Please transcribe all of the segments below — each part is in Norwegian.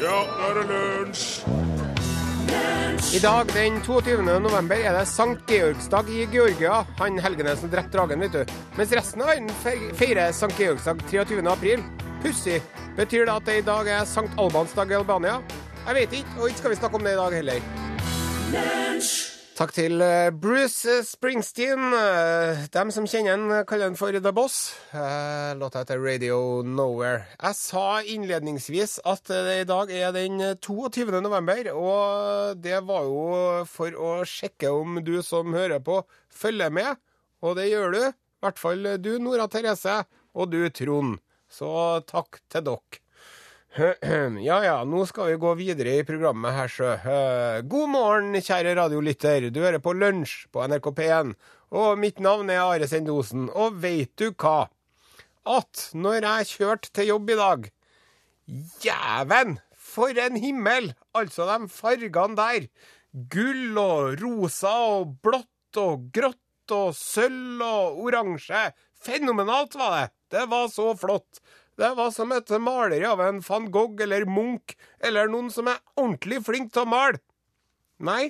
nå er det lunsj! I dag, den 22. november, er det Sankt Georgsdag i Georgia. Han Helgenesen drepte dragen, vet du. Mens resten av verden fe- feirer Sankt Georgsdag 23. april. Pussig. Betyr det at det i dag er Sankt Albans dag i Albania? Jeg vet ikke, og ikke skal vi snakke om det i dag heller. Takk til eh, Bruce Springsteen. Eh, Dem som kjenner han, kaller han for The Boss. Eh, Låta heter Radio Nowhere. Jeg sa innledningsvis at eh, det i dag er den 22. november, og eh, det var jo for å sjekke om du som hører på, følger med. Og det gjør du. I hvert fall eh, du, Nora Therese, og du, Trond. Så takk til dere. Ja ja, nå skal vi gå videre i programmet her, sjø. Eh, God morgen, kjære radiolytter. Du hører på Lunsj på NRK P1. Og mitt navn er Are Sendosen. Og veit du hva? At når jeg kjørte til jobb i dag Jæven! For en himmel! Altså de fargene der. Gull og rosa og blått og grått og sølv og oransje. Fenomenalt var det! Det var så flott. Det var som et maleri av en van Gogh eller Munch eller noen som er ordentlig flink til å male. Nei,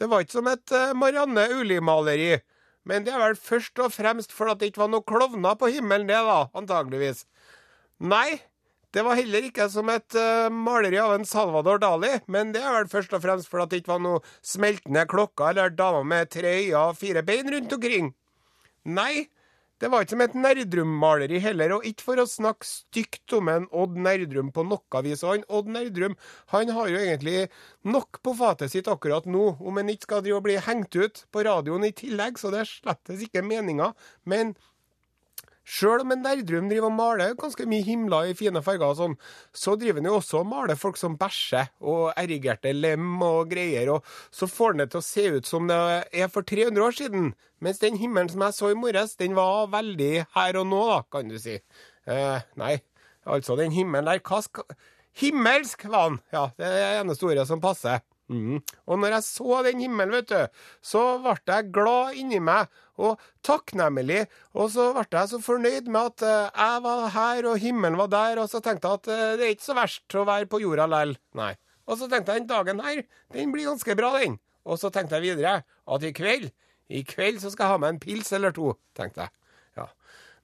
det var ikke som et eh, Marianne Uli-maleri. Men det er vel først og fremst fordi det ikke var noen klovner på himmelen, det, da, antageligvis. Nei, det var heller ikke som et eh, maleri av en Salvador Dali, men det er vel først og fremst fordi det ikke var noe smeltende klokker eller damer med tre øyne og fire bein rundt omkring. Nei, det var ikke som et Nerdrum-maleri heller, og ikke for å snakke stygt om en Odd Nerdrum på noe vis. Og han Odd Nerdrum han har jo egentlig nok på fatet sitt akkurat nå, om han ikke skal drive og bli hengt ut på radioen i tillegg, så det er slettes ikke meninga. Men Sjøl om en Nerdrum driver og maler ganske mye himler i fine farger, og sånn, så driver han jo også og maler folk som bæsjer og erigerte lem og greier, og så får han det til å se ut som det er for 300 år siden. Mens den himmelen som jeg så i morges, den var veldig her og nå, da, kan du si. Eh, nei, altså, den himmelen der, hva skal Himmelsk var han! Ja, det er det eneste ordet som passer. Mhm. Og når jeg så den himmelen, vet du, så ble jeg glad inni meg og takknemlig. Og så ble jeg så fornøyd med at eh, jeg var her, og himmelen var der, og så tenkte jeg at eh, det er ikke så verst å være på jorda lell. Nei. Og så tenkte jeg den dagen her, den blir ganske bra, den. Og så tenkte jeg videre at i kveld, i kveld så skal jeg ha meg en pils eller to, tenkte jeg. Ja.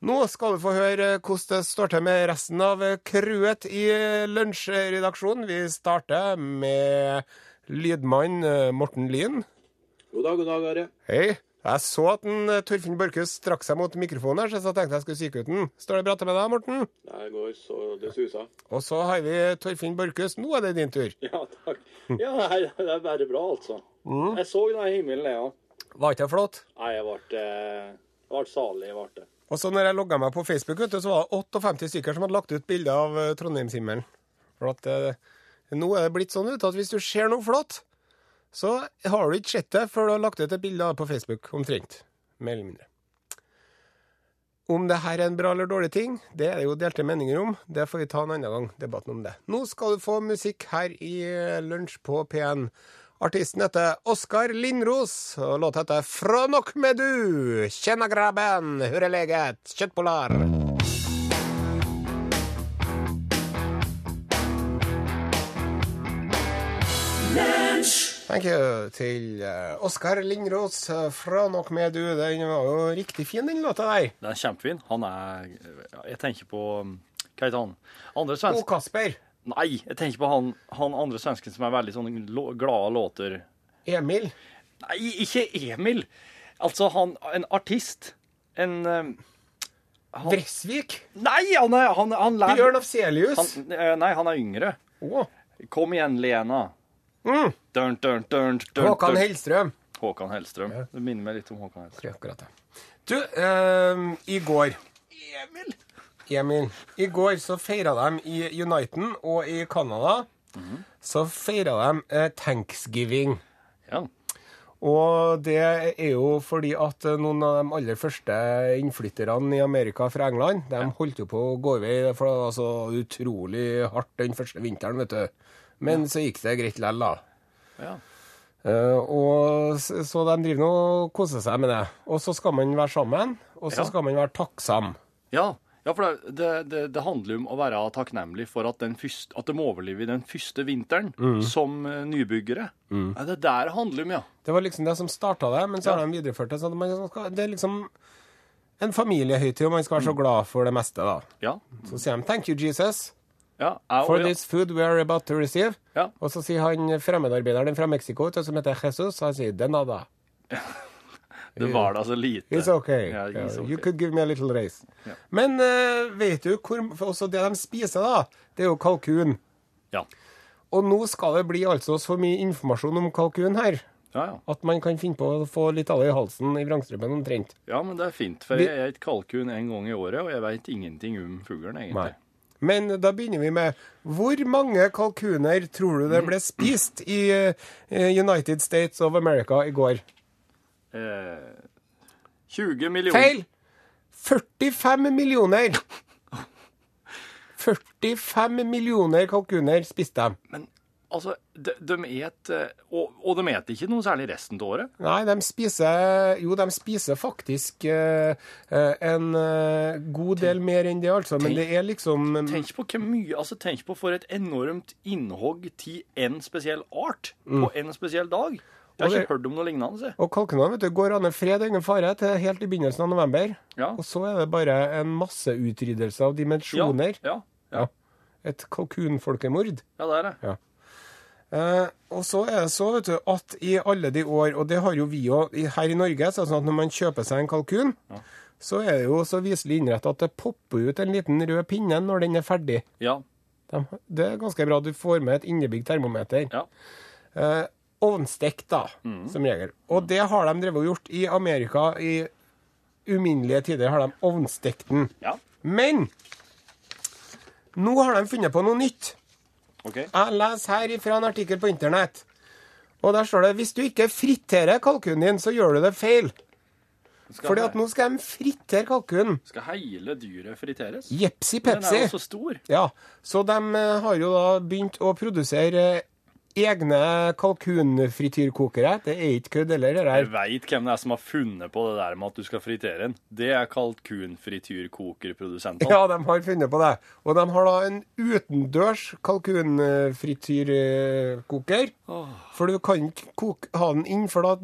Nå skal du få høre hvordan det står til med resten av crewet i lunsjredaksjonen. Vi starter med lydmann eh, Morten Lien. God dag, god dag, Are. Hei. Jeg så at en eh, Torfinn Borchhus strakk seg mot mikrofonen, her, så jeg tenkte jeg skulle psyke ut den. Står det bra til med deg, Morten? Det går så det suser. Og så har vi Torfinn Borchhus. Nå er det din tur. Ja, takk. Ja, nei, det er bare bra, altså. Jeg så den himmelen, jeg ja. Var ikke det flott? Nei, jeg ble, eh, jeg ble salig. Jeg ble. Og så når jeg logga meg på Facebook, vet du, så var det 58 stykker som hadde lagt ut bilder av eh, Trondheimshimmelen. For at eh, nå er det blitt sånn vet du, at hvis du ser noe flott, så har du ikke sett det før du har lagt ut et bilde av det på Facebook, omtrent. Mer eller mindre. Om det her er en bra eller dårlig ting, det er det jo delte meninger om. Det får vi ta en annen gang, debatten om det. Nå skal du få musikk her i eh, Lunsj på P1. Artisten heter Oskar Lindros, og låta heter 'Fra nok med du'. Kjenna grabben, hurre leget, kjøttboller. Thank you til eh, Oskar Lindros eh, fra Nok med du. Den var jo riktig fin, den låta der. Den er kjempefin. Han er ja, Jeg tenker på um, Hva heter han? Andre O svensk... Kasper. Nei, jeg tenker på han, han andre svensken som er veldig sånn lo, glade låter. Emil. Nei, ikke Emil! Altså, han En artist. En um, han, Bresvik. Nei, han er Han, han lær- Bjørn Afselius. han, eh, Nei, han er yngre. Å, Kom igjen, Lena. Mm. Dun, dun, dun, dun, Håkan dun. Hellstrøm. Håkan Hellstrøm. Det minner meg litt om Håkan Hellstrøm. Det er akkurat det. Du, eh, i går Emil! Emil, i går så feira de i Uniten og i Canada. Mhm. Så feira de eh, thanksgiving. Ja. Og det er jo fordi at noen av de aller første innflytterne i Amerika fra England, de holdt jo på å gå i vei, for det var så utrolig hardt den første vinteren, vet du. Men så gikk det greit likevel, da. ja. Eh, og s- så de driver nå og koser seg med det. Og så skal man være sammen, og så Ja. skal man være takksam. Ja, Ja, for det, det, det, det handler jo om å være takknemlig for at, den fyrst, at de overlever den første vinteren Mm. som eh, nybyggere. Ja, det der handler om, ja. Det var liksom det som starta det, men så har de videreført det. Så at man skal, det er liksom en familiehøytid, og man skal være Mm. så glad for det meste, da. Ja. Så sier de 'Thank you, Jesus, ja. Au, for ja. this food we are about to receive'. Ja. Og så sier han fremmedarbeideren fra Mexico vet du, som heter Jesus, han sier 'De nada'. Det var da så lite. It's okay. Ja, it's Yeah, okay. You could give me a little raise. Men eh, vet du hvor for Også det de spiser, da, det er jo kalkun. Ja. Og nå skal det bli altså så mye informasjon om kalkun her Ja, ja. at man kan finne på å få litt av det i halsen i vrangstrupen omtrent. ja, men det er fint, for Vi- jeg er et kalkun en gang i året, og jeg veit ingenting om fuglen, egentlig. Men da begynner vi med Hvor mange kalkuner tror du Mm. det ble spist i eh, United States of America i går? Eh, 20 millioner Feil! 45 millioner! 45 millioner kalkuner spiste de. Men altså, de, de et eh, og, og de et ikke noe særlig resten av året. Nei, de spiser Jo, de spiser faktisk eh, eh, en eh, god del mer enn det, altså. Men det er liksom Tenk på hvor mye altså tenk på for et enormt innhogg til en spesiell art på en spesiell dag. Og Jeg har Mm. det- ikke hørt om noe lignende. se. Og kalkunene vet du, går an en fred og ingen fare til helt i begynnelsen av november. Ja. Og så er det bare en masseutryddelse av Ja, dimensjoner. ja, ja, Ja. Et kalkunfolkemord. ja, det er det. Eh, og så er det så, vet du, at i alle de år, og det har jo vi òg her i Norge, så er det sånn at når man kjøper seg en kalkun, så er det jo så viselig innretta at det popper ut en liten rød pinne når den er ferdig. Ja, De, det er ganske bra. Du får med et innebygd termometer. ja. Mm. Eh, ovnstekt, da, som regel. Og det har de drevet og gjort i Amerika i uminnelige tider. har de ovnstekt den. ja. Men nå har de funnet på noe nytt. OK. Jeg leser her fra en artikkel på internett. Og der står det hvis du ikke friterer kalkunen din, så gjør du det feil. Skal, Fordi at nå skal de fritere kalkunen. skal hele dyret friteres? Jepsi Den er pepsi. jo så stor. Ja, så de eh, har jo da begynt å produsere eh, egne kalkunfrityrkokere. Det er ikke kødd heller, det Jeg der. veit hvem det er som har funnet på det der med at du skal fritere den. Det er kalkunfrityrkokerprodusentene. Ja, de har funnet på det. Og de har da en utendørs kalkunfrityrkoker. For du kan ikke koke, ha den inn, for da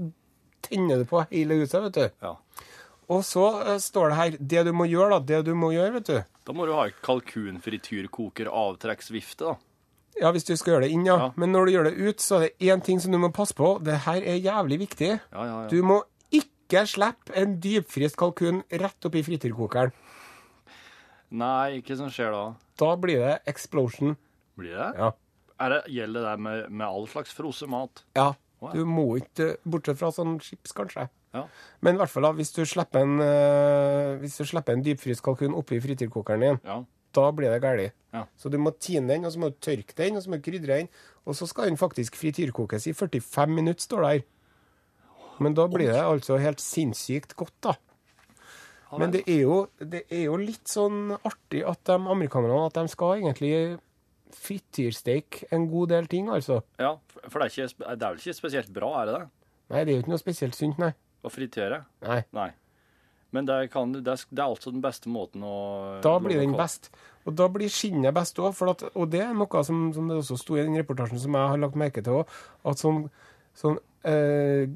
tenner du på hele huset, vet du. Ja. Og så eh, står det her Det du må gjøre, da. Det du må gjøre, vet du. Da må du ha kalkunfrityrkoker-avtrekksvifte, da. Ja, hvis du skal gjøre det inn, ja. Ja. Men når du gjør det ut, så er det én ting som du må passe på. Det her er jævlig viktig. Ja, ja, ja. Du må ikke slippe en dypfryst kalkun rett oppi frityrkokeren. Nei, ikke som skjer da. Da blir det explosion. Blir det? Ja. Er det gjelder det der med, med all slags frossen mat? ja. Wow. Du må ikke, bortsett fra sånn chips, kanskje. Ja. Men i hvert fall da, hvis du slipper en, øh, hvis du slipper en dypfryst kalkun oppi frityrkokeren din, ja. da blir det galt. Ja. Så du må tine den, og så må du tørke den, og så må du krydre den. Og så skal den faktisk frityrkokes i 45 minutter, står det her. Men da blir det altså helt sinnssykt godt, da. Men det er, jo, det er jo litt sånn artig at de amerikanerne at de skal egentlig frityrsteike en god del ting, altså. ja. For det er, ikke, sp- det er vel ikke spesielt bra, er det det? Nei, det er jo ikke noe spesielt sunt, nei. Å fritere? nei. Nei. Men det, kan, du- det, er, det er altså den beste måten å Da blir den å- best. Og da blir skinnet best òg. Og det er noe som, som det også sto i den reportasjen som jeg har lagt merke til òg, at sånn, sånn eh,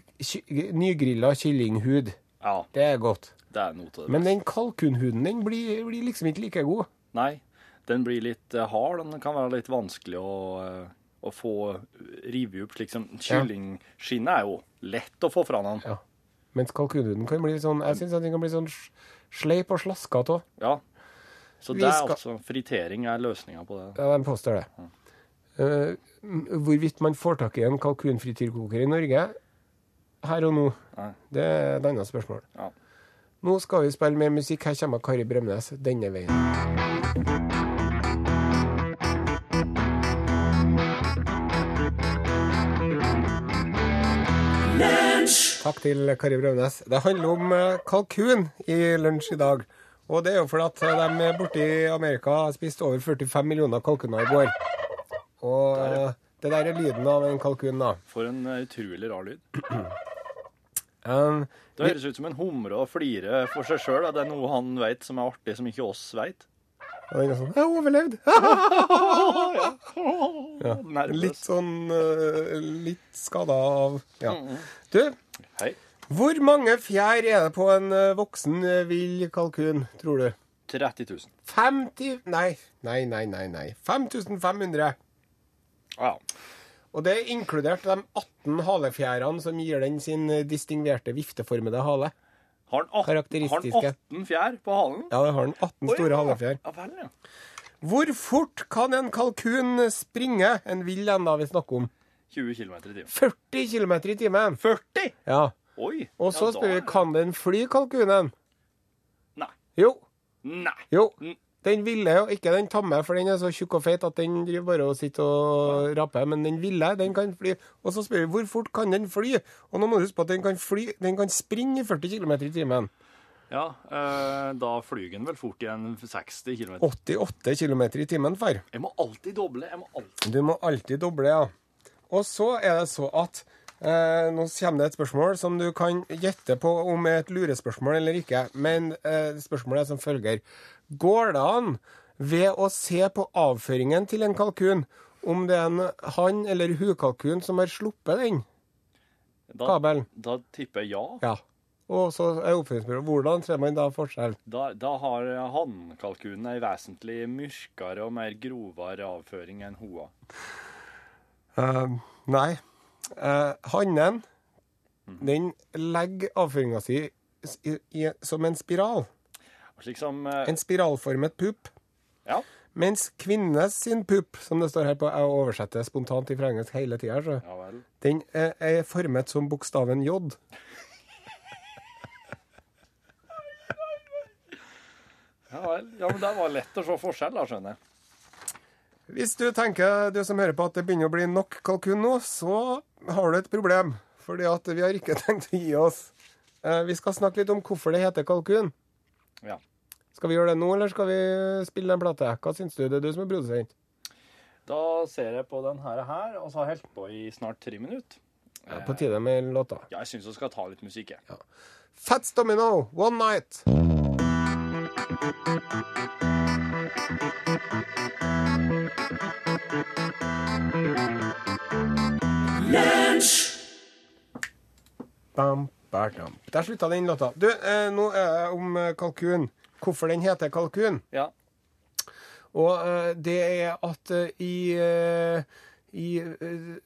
nygrilla kyllinghud, Ja, det er godt. det er noe til det. Men den kalkunhuden, den blir, blir liksom ikke like god. Nei, den blir litt eh, hard. Den kan være litt vanskelig å, eh, å få eh, rive opp, slik som kyllingskinnet er jo lett å få fra den. Ja. Mens kalkunhuden kan bli sånn Jeg syns den kan bli sånn sj- sleip og slaskete òg. Ja. Så Vi det er skal- altså fritering er løsninga på det. Ja, de påstår det. Eh, m- hvorvidt man får tak i en kalkunfrityrkoker i Norge her og nå, Nei. det er et annet spørsmål. Ja. Nå skal vi spille mer musikk. Her kommer Kari Bremnes denne veien. Takk til Kari Bremnes. Det handler om eh, kalkun i lunsj i dag. Og det er jo fordi at eh, de borte i Amerika har spist over 45 millioner kalkuner i går. Og eh, det der er lyden av en kalkun, da. For en eh, utrolig rar lyd. Um, Det høres ut som en humre og flire for seg sjøl. Det er noe han veit som er artig, som ikke oss veit. og den er sånn Jeg overlevde! Nervøs. Litt sånn eh, Litt skada av Ja. Mm. Du, Hei. hvor mange fjær er det på en eh, voksen eh, vill kalkun, tror du? 30 000. 50 Nei, nei, nei, nei. nei. 5500. Ja. Og det er inkludert de 18 halefjærene som gir den sin eh, distingverte vifteformede hale. Har han 18, har han Karakteristiske. 18 fjær på halen? Ja, det har den 18 Oi, store halefjær. Ja vel, ja. Hvor fort kan en kalkun eh, springe? En vill en, da, vi snakker om. 20 km i timen. 40 km i timen. 40? Ja. Oi. Og så ja, da spør vi er- kan den fly, kalkunen. Nei. Jo. Nei. Jo. Mm. Den ville jo ikke den tamme, for den er så tjukk og feit at den driver bare og sitter og raper. Men den ville, den kan fly. Og så spør vi hvor fort kan den fly? Og nå må du huske på at den kan fly Den kan springe i 40 km i timen. Ja, eh, da flyr han vel fort igjen 60 km. 88 km i timen, far. Jeg må alltid doble. Jeg må alltid Du må alltid doble, ja. Og så er det så at eh, Nå kommer det et spørsmål som du kan gjette på om er et lurespørsmål eller ikke. Men eh, spørsmålet er som følger. Går det an, ved å se på avføringen til en kalkun, om det er en hann- eller hukalkun som har sluppet den da, kabelen? Da tipper jeg ja. Ja. Og så er oppfølgingsspørsmålet hvordan ser man da forskjell? Da, da har hannkalkunen ei vesentlig mørkere og mer grovere avføring enn hoa. Eh, nei. Eh, hannen, den legger avføringa si s- i, i, som en spiral. Slik som eh, En spiralformet pupp. Ja. Mens kvinnes sin pupp, som det står her på, jeg oversetter spontant fra engelsk hele tida, så Ja vel. den er, er formet som bokstaven J. Ja vel. Ja, men det var lett å se forskjell, da, skjønner jeg. Hvis du tenker, du som hører på, at det begynner å bli nok kalkun nå, så har du et problem. Fordi at vi har ikke tenkt å gi oss. Eh, Vi skal snakke litt om hvorfor det heter kalkun. Ja. Skal vi gjøre det nå, eller skal vi spille en plate? Hva syns du? Det er du som er produsent. Da ser jeg på den her, her og så har jeg holdt på i snart tre minutter. Det er på tide med låta. Ja, jeg syns vi skal ta litt musikk, jeg. Fats Domino, One Night. Bam, bam. Der slutta den låta. Du, eh, nå er det om eh, kalkun. Hvorfor den heter kalkun. Ja. Og eh, det er at eh, i, eh, i eh,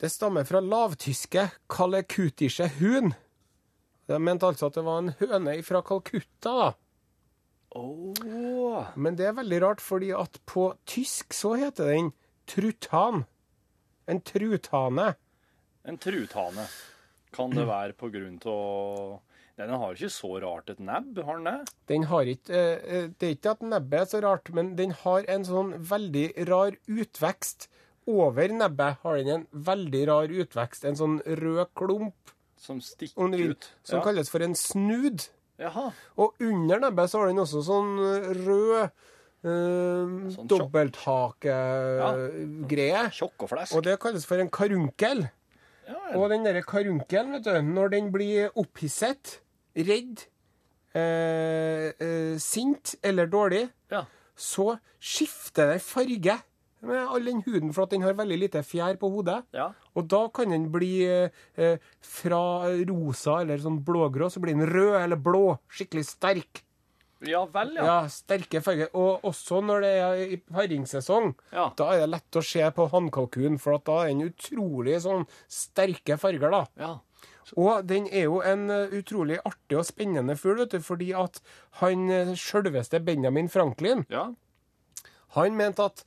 Det stammer fra lavtyske 'kalekutische hun'. De mente altså at det var en høne fra Calcutta, da. Oh. Men det er veldig rart, fordi at på tysk så heter den trutan. En truthane. En truthane. Kan det være på grunn av Nei, den har ikke så rart et nebb, har den det? Den har ikke eh, eh, Det er ikke at nebbet er så rart, men den har en sånn veldig rar utvekst. Over nebbet har den en veldig rar utvekst, en sånn rød klump Som stikker om du vil, ut. som ja. kalles for en snud. Jaha. Og under nebbet så har den også sånn eh, rød eh, Sånn dobbelthakegreie. Tjokk og flesk. Og det kalles for en karunkel. Ja, Og den derre karunkelen, vet du, når den blir opphisset, redd, eh, eh, sint eller dårlig, ja. så skifter den farge med all den huden, for at den har veldig lite fjær på hodet. ja. Og da kan den bli eh, eh, fra rosa eller sånn blågrå, så blir den rød eller blå. Skikkelig sterk. Ja vel, Ja, ja. sterke farger. Og også når det er i paringssesong, Ja. da er det lett å se på hannkalkunen, for at da er den utrolig sånn sterke farger, da. ja. Og den er jo en eh, utrolig artig og spennende fugl, vet du, fordi at han eh, sjølveste Benjamin Franklin, ja. han mente at,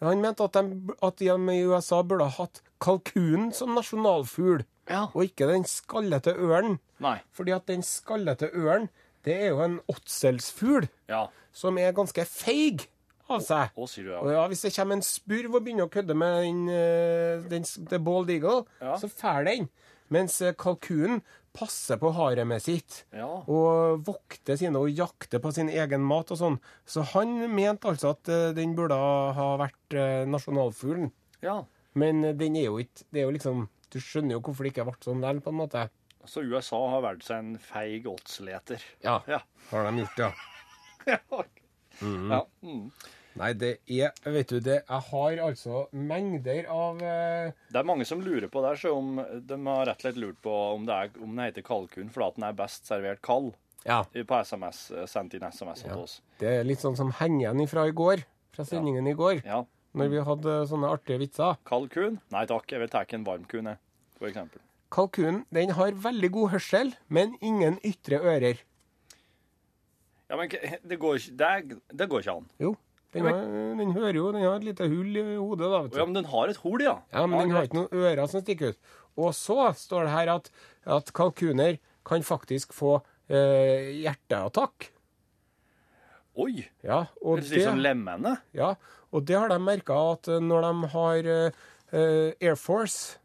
han mente at, de, at de i USA burde ha hatt kalkunen som nasjonalfugl, Ja. og ikke den skallete ørnen. Nei. Fordi at den skallete ørnen, det er jo en åtselsfugl Ja. som er ganske feig av seg. Å, sier du Og ja. ja, Hvis det kommer en spurv og begynner å kødde med den, eh, den s- the bald eagle, Ja. så fær den. Mens eh, kalkunen passer på haremet sitt Ja. og vokter sine og jakter på sin egen mat og sånn. Så han mente altså at eh, den burde ha vært eh, nasjonalfuglen. ja. Men eh, den er jo ikke Det er jo liksom Du skjønner jo hvorfor det ikke ble sånn der, på en måte. Så USA har valgt seg en feig oddsleter. Ja. Ja. Har de gjort, ja. ja. Mhm. Mm. Nei, det er Vet du det, jeg har altså mengder av eh, Det er mange som lurer på der, så om de har rett og slett lurt på om, det er, om den heter kalkun fordi at den er best servert kald Ja. eh, på SMS, eh, sendt inn SMS til oss. Det er litt sånn som henger igjen ifra i går. Fra sendingen i går. Ja. Når vi hadde sånne artige vitser. Kald kun? Nei takk, jeg vil ta en varm kun, jeg, for eksempel. Kalkunen den har veldig god hørsel, men ingen ytre ører. Ja, men k- det går, ikke- det, er- det går ikke an. Jo, den, har, den hører jo, den har et lite hull i hodet, da, vet Ja, du. men den har et hol, ja. Ja, men den har ikke noen ører som stikker ut. Og så står det her at, at kalkuner kan faktisk få eh, hjerteattakk. Oi! Ja, og Det er litt som det, lemmene. ja, og det har de merka at eh, når de har eh, eh, Air Force,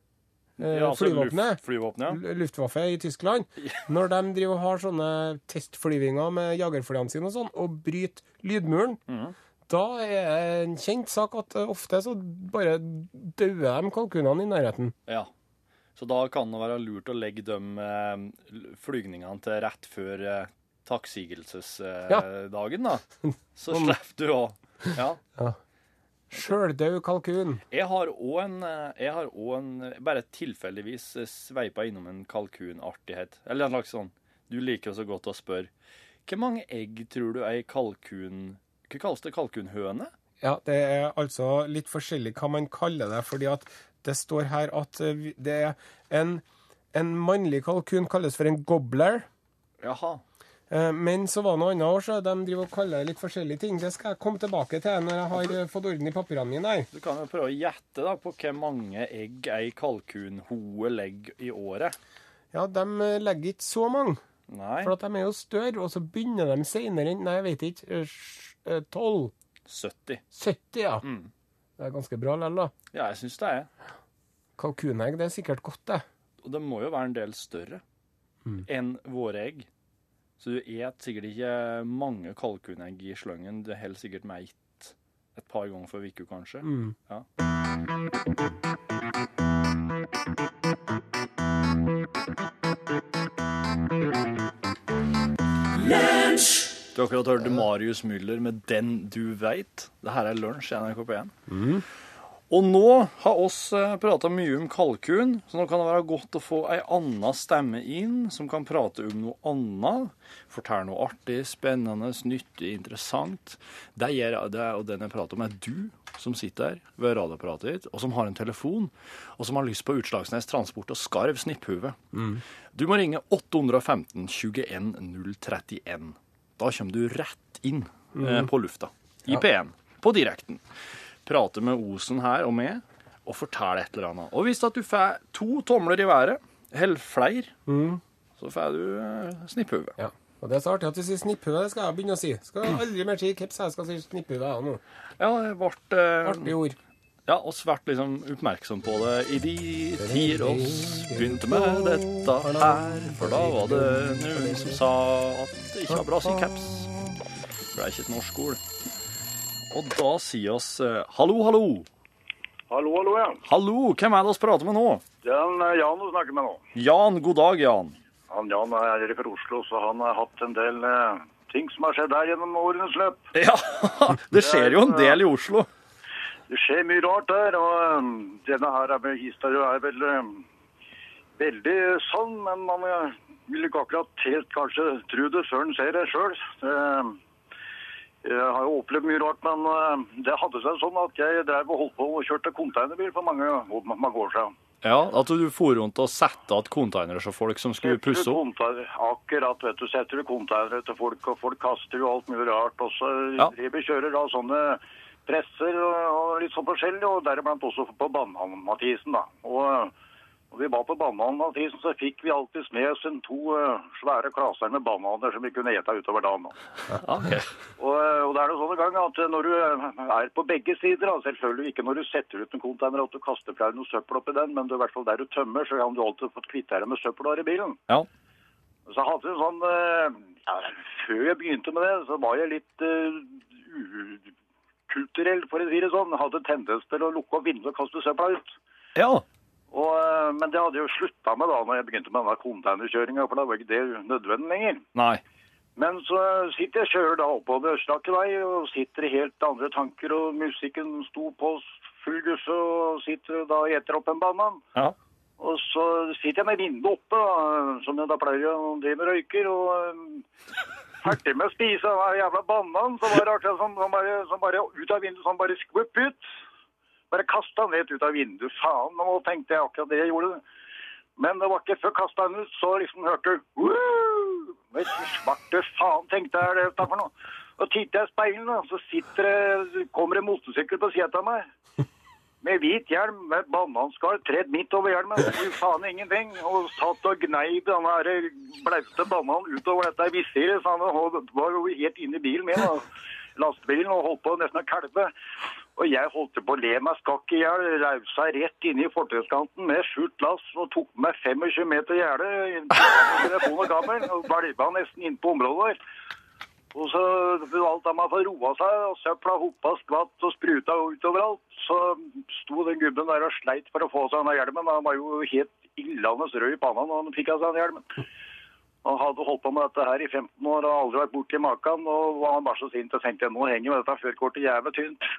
eh, Ja, altså flyvåpenet luft- Flyvåpenet, ja. L- Luftwaffe i Tyskland, når de driver og har sånne testflyvinger med jagerflyene sine og sånn, og bryter lydmuren, Mhm. da er det en kjent sak at eh, ofte så bare dauer de kalkunene i nærheten. ja. Så da kan det være lurt å legge de eh, l- flygningene til rett før Ja. eh, takksigelsesdagen, da. Så slipper du å Ja. Sjøldau kalkun. Jeg har òg en, eh, jeg har også en Bare tilfeldigvis eh, sveipa innom en kalkunartighet. Eller en slags sånn Du liker jo så godt å spørre. Hvor mange egg tror du ei kalkun Hva kalles det? Kalkunhøne? Ja, det er altså litt forskjellig hva man kaller det, fordi at det står her at eh, vi- det er en, en mannlig kalkun kalles for en gobbler. Jaha. Eh, Men så var det noe annet år, så de driver og kaller det litt forskjellige ting. Det skal jeg komme tilbake til når jeg har eh, fått orden i papirene mine her. Du kan jo prøve å gjette da på hvor mange egg ei kalkunhoe legger i året. Ja, de eh, legger ikke så mange, Nei, for at de er jo større, og så begynner de senere enn Nei, jeg vet ikke. eh, sj- eh, 12? 70. 70, ja. Det er ganske bra likevel, da. Ja, jeg syns det er. Kalkunegg, det er sikkert godt, det. Og det må jo være en del større enn våre egg. Så du et sikkert ikke mange kalkunegg i sløngen. Du holder sikkert med ett et par ganger for uka, kanskje. Ja. Du har akkurat hørt Marius Müller med 'Den du veit'. Det her er lunsj i NRK P1. Og nå har oss prata mye om kalkun, så nå kan det være godt å få ei anna stemme inn, som kan prate om noe anna. Fortelle noe artig, spennende, nyttig, interessant. Det gjør det, og den jeg prater om, er du, som sitter her ved radioapparatet ditt, og som har en telefon, og som har lyst på Utslagsnes Transport og Skarv Snipphue. Du må ringe 815 21 031. Da kommer du rett inn eh, på lufta. I P1. På direkten prate med Osen her og meg, og fortelle et eller annet. Og hvis at du får to tomler i været, eller flere, så får du eh, snipphue. Ja. Og det er så artig at du sier snipphue, det skal jeg begynne å si. Skal jeg aldri mer si kips, jeg skal si snipphue jeg nå. Ja, det ble eh, Artig ord. Ja, oss ble liksom oppmerksom på det i de tider oss begynte med dette her, for da var det noen som sa at det ikke var bra å si caps. For det er ikke et norsk ord. Og da sier oss eh, hallo, hallo. Hallo, hallo, ja. Hallo, hvem er det vi prater med nå? Det er en, eh, Jan du snakker med nå. Jan, god dag, Jan. Han Jan er fra Oslo, så han har hatt en del eh, ting som har skjedd her gjennom årenes løp. Ja, det skjer jo en del i Oslo. Det skjer mye rart der, og eh, denne her med historien er vel eh, veldig sann, men man eh, vil ikke akkurat helt kanskje tro det før en ser det sjøl. Jeg har jo opplevd mye rart, men eh, det hadde seg sånn at jeg drev og holdt på og kjørte containerbil for mange, mange år siden. Ja, at du for rundt og satte igjen containere så folk som skulle pusse opp. Konteiner- Akkurat, vet du. Setter du containere til folk, og folk kaster jo alt mulig rart. Og så Ja. driver kjører da sånne presser og, og litt sånn forskjellig, og deriblant også på Banan-Mathisen, da. Og når vi var på Banan-Mathisen, så fikk vi alltid med oss en to eh, svære klaser med bananer som vi kunne ete utover dagen. da. Ja, ok. Og, og det er noe sånn en gang at når du eh, er på begge sider, da, selvfølgelig ikke når du setter ut en container at du kaster fra deg noe søppel oppi den, men du, i hvert fall der du tømmer, så kan du alltid få kvittere med søppel du har i bilen. Ja. Så jeg hadde en sånn eh, ja, Før jeg begynte med det, så var jeg litt eh, ukulturell, for å si det sånn. Jeg hadde tendens til å lukke opp vinduet og kaste søpla ut. ja. Og, eh, men det hadde jeg jo slutta med da når jeg begynte med denne containerkjøringa, for da var ikke det nødvendig lenger. Nei. Men så sitter jeg kjører da oppover Østlakke vei og sitter i helt andre tanker, og musikken sto på full gusse og sitter da og eter opp en banan. Ja. Og så sitter jeg med vinduet oppe, da, som jeg da pleier å drive med røyker, og um, ferdig med å spise den der jævla bananen, så var det akkurat som, som, bare, som bare ut av vinduet, som bare skvupp ut. Bare kasta den helt ut av vinduet. Faen, nå tenkte jeg akkurat det jeg gjorde. Men det var ikke før kasta den ut, så liksom hørte du «Woo!» Men svarte faen, tenkte jeg, er det dette for noe? Og titter jeg i speilet, da, så sitter det, kommer det motorsykkel på sida av meg. Med hvit hjelm, med bananskall tredd midt over hjelmen. Fy faen ingenting. Og satt og gnei den her eh, blaute bananen utover dette visiret. Så han var jo helt inne i bilen min, og lastebilen, og holdt på nesten å kalve. Og jeg holdt på å le meg skakk i hjel. Rausa rett inn i fortauskanten med skjult lass og tok med meg 25 meter gjerde. i Telefon og kabel. Og velva nesten inn på området der. Og så alt av meg for roa seg, og søpla hoppa skvatt og spruta ut overalt. Så sto den gubben der og sleit for å få seg denne hjelmen. Han var jo helt illandes rød i panna når han fikk av seg den hjelmen. Han hadde holdt på med dette her i 15 år og aldri vært borti maken. Og var han bare så sint og tenkte nå henger jo dette førerkortet jævlig tynt.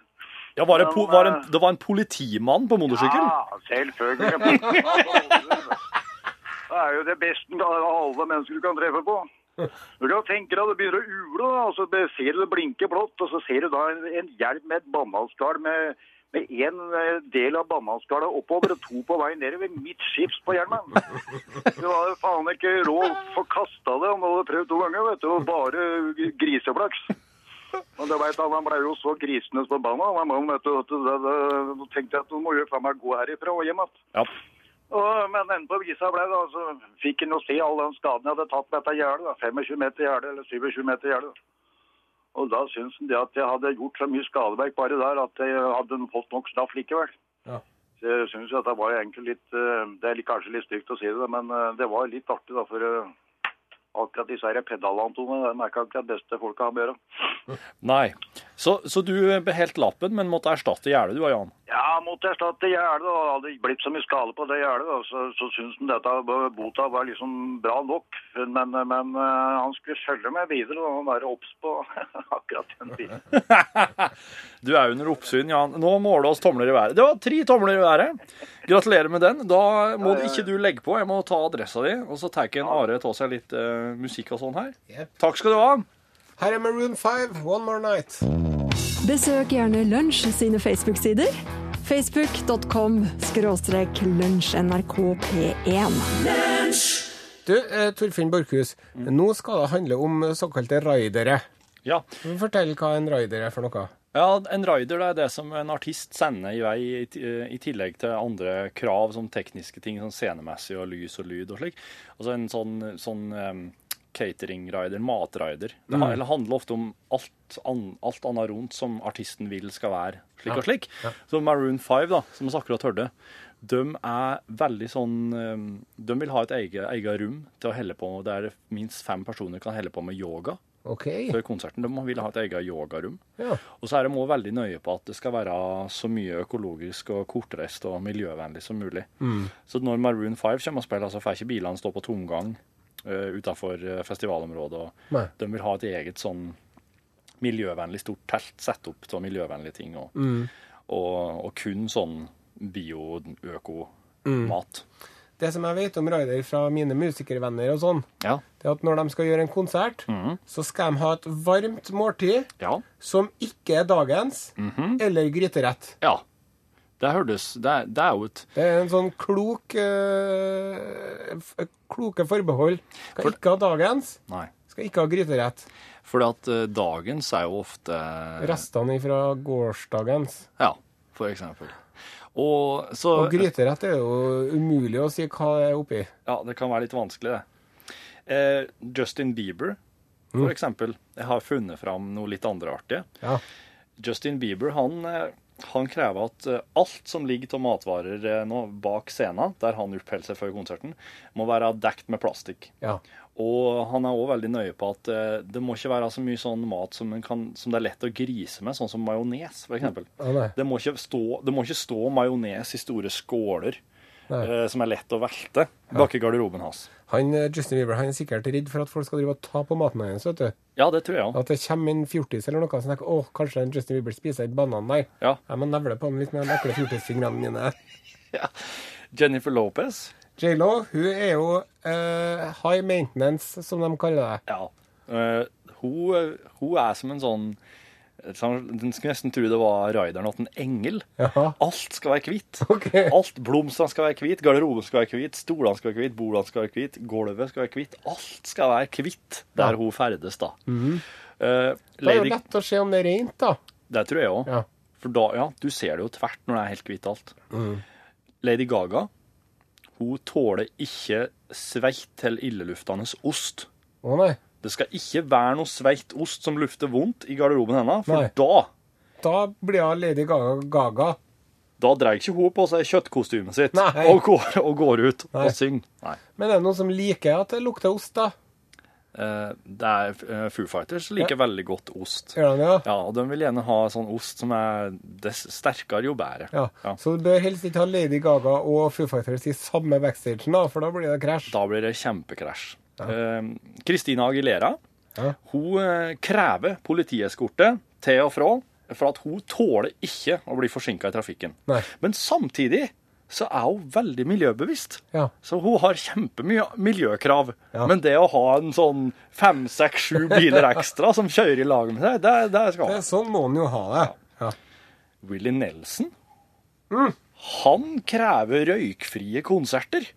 ja var det, po var en, det var en politimann på motorsykkel? Ja, selvfølgelig. Det er jo det beste av alle mennesker du kan treffe på. Når du tenker at det begynner å ule, da, og så be- ser du det blinker blått, og så ser du da en, en hjelm med et bananskall med med én del av bananskallet oppover og to på vei nedover. Midtskips på hjelmen. Det var jo faen ikke råd for kasta det. Han hadde prøvd to ganger, vet du. Og bare griseflaks. Men det vet han, han ble jo så grisende forbanna. Han var jo, vet du, at det- det- Nå tenkte jeg at nå må jo faen meg gå herifra og hjem igjen. Ja. Og, men enden på visa ble det, og så fikk han jo se all den skaden jeg hadde tatt med dette gjerdet. da. 25 meter gjerde, eller 27 meter gjerde. da. Og da syntes han det at jeg hadde gjort så mye skadeverk bare der at jeg hadde fått nok straff likevel. Ja. Så jeg syns jo at det var egentlig litt eh, Det er litt- kanskje litt stygt å si det, da, men eh, det var litt artig, da, for eh, akkurat disse her pedalantone, de er ikke akkurat beste folka har med å gjøre. Nei. Så, så du beholdt lappen, men måtte erstatte gjerdet du, Jan? Ja, måtte erstatte gjerdet, og hadde blitt så mye skade på det gjerdet, da, så, så syntes han dette b- bota var liksom bra nok. Men, men eh, han skulle følge med videre og være obs på akkurat den bilen. Du er under oppsyn, Jan. Nå måler oss tomler i været. Det var tre tomler i været. Gratulerer med den. Da må ikke du legge på. Jeg må ta adressa di, og så tar en Are ta seg litt eh, musikk og sånn her. Yep. Takk skal du ha. Her er Maroon 5, One More Night. Besøk gjerne Lunsj sine Facebook-sider. Facebook.com skråstrek lunsjnrkp1. Du, eh, Torfinn Borchhus, nå skal det handle om såkalte raidere. Ja. Fortell hva en raider er for noe. ja, en rider det er det som en artist sender i vei, i, ti- i tillegg til andre krav som tekniske ting, sånn scenemessig og lys og lyd og slik. Altså en sånn, sånn em, catering-rider, matrider. Det ha- eller handler ofte om alt, an, alt annet rundt som artisten vil skal være slik og slik. Så Maroon 5, da, som vi akkurat hørte, de er veldig sånn em, De vil ha et eget, eget rom til å helle på, der minst fem personer kan helle på med yoga OK. før konserten. De vil ha et eget yogarom. Ja. Og så er de også veldig nøye på at det skal være så mye økologisk og kortreist og miljøvennlig som mulig. Så når Maroon 5 kommer og spiller, så får ikke bilene stå på tomgang uh, utenfor eh, festivalområdet. Og Nei. de vil ha et eget sånn miljøvennlig stort telt satt opp av miljøvennlige ting. Og, og, og kun sånn bio-øko-mat. Det som jeg vet om raider fra mine musikervenner og sånn, Ja. det er at når de skal gjøre en konsert, så skal de ha et varmt måltid Ja. som ikke er dagens, eller gryterett. ja. Det, hørtes, det, er- det er jo et Det er en sånn klok eh, f- Kloke forbehold. Skal ikke ha dagens, Nei. skal ikke ha gryterett. Fordi at eh, dagens er jo ofte Restene fra gårsdagens. Ja, for eksempel. Og så Og gryterett er jo umulig å si hva det er oppi. Ja, det kan være litt vanskelig, det. Eh, Justin Bieber, for eksempel. Jeg har funnet fram noe litt andre artige. Ja. Justin Bieber han, eh, han krever at eh, alt som ligger av matvarer eh, nå bak scenen, der han oppholder seg før konserten, må være dekt med plastikk. ja. Og han er òg veldig nøye på at eh, det må ikke være så mye sånn mat som, en kan, som det er lett å grise med, sånn som majones, f.eks. Ja, nei. Det må ikke stå, det må ikke stå majones i store skåler eh, som er lett å velte bak i garderoben hans. Han, eh, Justin Bieber han er sikkert redd for at folk skal drive og ta på maten hans. vet du. Ja, det tror jeg òg. At det kommer en fjortis eller noe som tenker åh, kanskje en Justin Bieber spiser en banan der. Ja. Jeg må nevle på den litt med de ekle fjortisfingrene mine. Jennifer Lopez. J.Lo hun er jo eh, high maintenance, som de kaller det. Ja. Eh, hun, hun er som en sånn som- Den skulle nesten tro det var rideren åt en engel. Ja. Alt skal være hvitt. Ok. Alt. Blomstene skal være hvitt, garderoben skal være hvit, stolene skal være hvitt, bordene skal være hvitt, gulvet skal være hvitt. Alt skal være hvitt der hun ferdes, da. Eh, Det Mhm. er jo Lady, lett å se om det er rent, da. det tror jeg òg. Ja. For da, ja, du ser det jo tvert når det er helt hvitt alt. Mm. Lady Gaga, hun tåler ikke sveitt eller illeluftende ost. Å nei. Det skal ikke være noe sveitt ost som lufter vondt i garderoben hennes, for Nei. da Da blir hun Lady Gaga. Gaga. da dreier ikke hun på seg kjøttkostymet sitt Nei. og går, og går ut Nei. og synger. Nei. Men er det noen som liker at det lukter ost, da? Eh, Det er eh, Foo Fighters liker veldig godt ost. Gjør de det? Ja, og de vil gjerne ha sånn ost som er dess sterkere jo bedre. Ja. Ja. Så du bør helst ikke ha Lady Gaga og Foo Fighters i samme backstagen, da, for da blir det krasj. Da blir det kjempekrasj. Kristina Aguilera Ja. hun eh, krever politieskorte til og fra for at hun tåler ikke å bli forsinka i trafikken. Nei. Men samtidig så er hun veldig miljøbevisst. Ja. Så hun har kjempemye miljøkrav. Ja. Men det å ha en sånn fem, seks, sju biler ekstra som kjører i lag med deg, det, det skal Det er hun ha. sånn må en jo ha det. Ja. Willy Nelson Mm. han krever røykfrie konserter.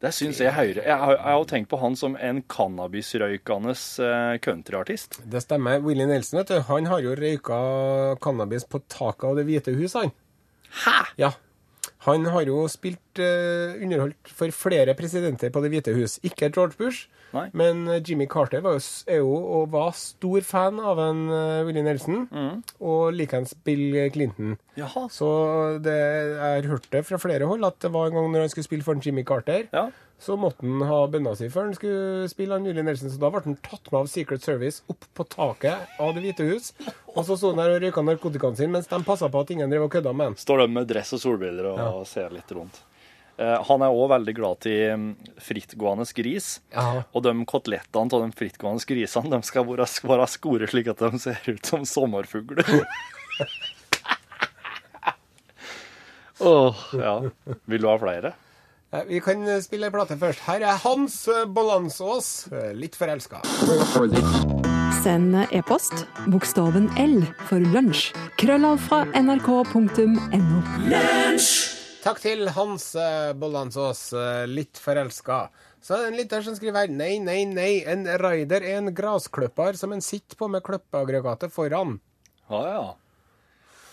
Det syns jeg høyere. Jeg har jeg har jo tenkt på han som en cannabisrøykende eh, countryartist. Det stemmer. Willy Nelson vet du, han har jo røyka cannabis på taket av Det hvite hus, han. Hæ? Ja. Han har jo spilt eh, underholdt for flere presidenter på Det hvite hus. Ikke George Bush, Nei. men eh, Jimmy Carter var jo, s- er jo og var stor fan av en eh, Willy Nelson. Og likeens Bill Clinton. Mm. Jaha. så- Så det, jeg har hørt det fra flere hold at det var en gang når han skulle spille for en Jimmy Carter, Ja. så måtte han ha bønna si før han skulle spille han Willy Nelson. Så da ble han tatt med av Secret Service opp på taket av Det hvite hus. Og så sto han der og røyka narkotikaen sin mens de passa på at ingen drev og kødda med han. Står de med dress og solbriller og ser litt rundt. Eh, han er òg veldig glad til mm, frittgående gris. Ja. Og de kotelettene av de frittgående grisene de skal være, skal være skåret slik at de ser ut som sommerfugler. Åh, ja. Vil du ha flere? Eh, Vi kan eh, spille en plate først. Her er Hans eh, Bolansås, eh, litt forelska. Send e-post bokstaven L for lunsj. Krøllalf fra nrk.no. Takk til Hans eh, Bollandsås, eh, litt forelska. Så er det en lytter som skriver her Nei, nei, nei, en raider er en grasklipper som en sitter på med klippeaggregatet foran. Ja, ja.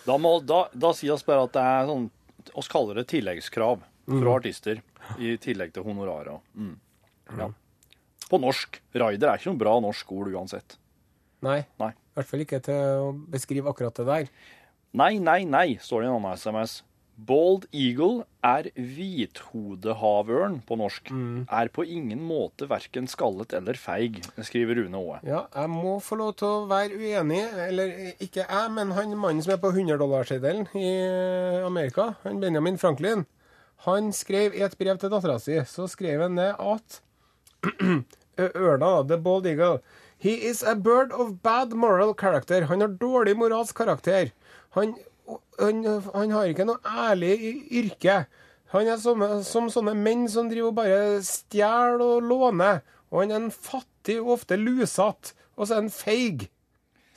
Da, må, da, da sier vi bare at det er sånn oss kaller det tilleggskrav Mm. fra artister. I tillegg til honorarer. Mm. Ja. På norsk. Raider er ikke noe bra norsk ord uansett. Nei. Nei. I hvert fall ikke til å beskrive akkurat det der. Nei, nei, nei, står det i en annen SMS. Bald eagle er hvithodehavørn på norsk. Mm. Er på ingen måte verken skallet eller feig, skriver Rune Aae. Ja, jeg må få lov til å være uenig, eller eh, ikke jeg, men han mannen som er på 100-dollarsseddelen i eh, Amerika, han Benjamin Franklin, han skrev i et brev til dattera si, så skrev han det at Ørna, da, the bald eagle He is a bird of bad moral character. Han har dårlig moralsk karakter. Han, han, han har ikke noe ærlig y- yrke. Han er som, som sånne menn som driver og bare stjeler og låner. Og han er en fattig og ofte lusete. Og så er han feig.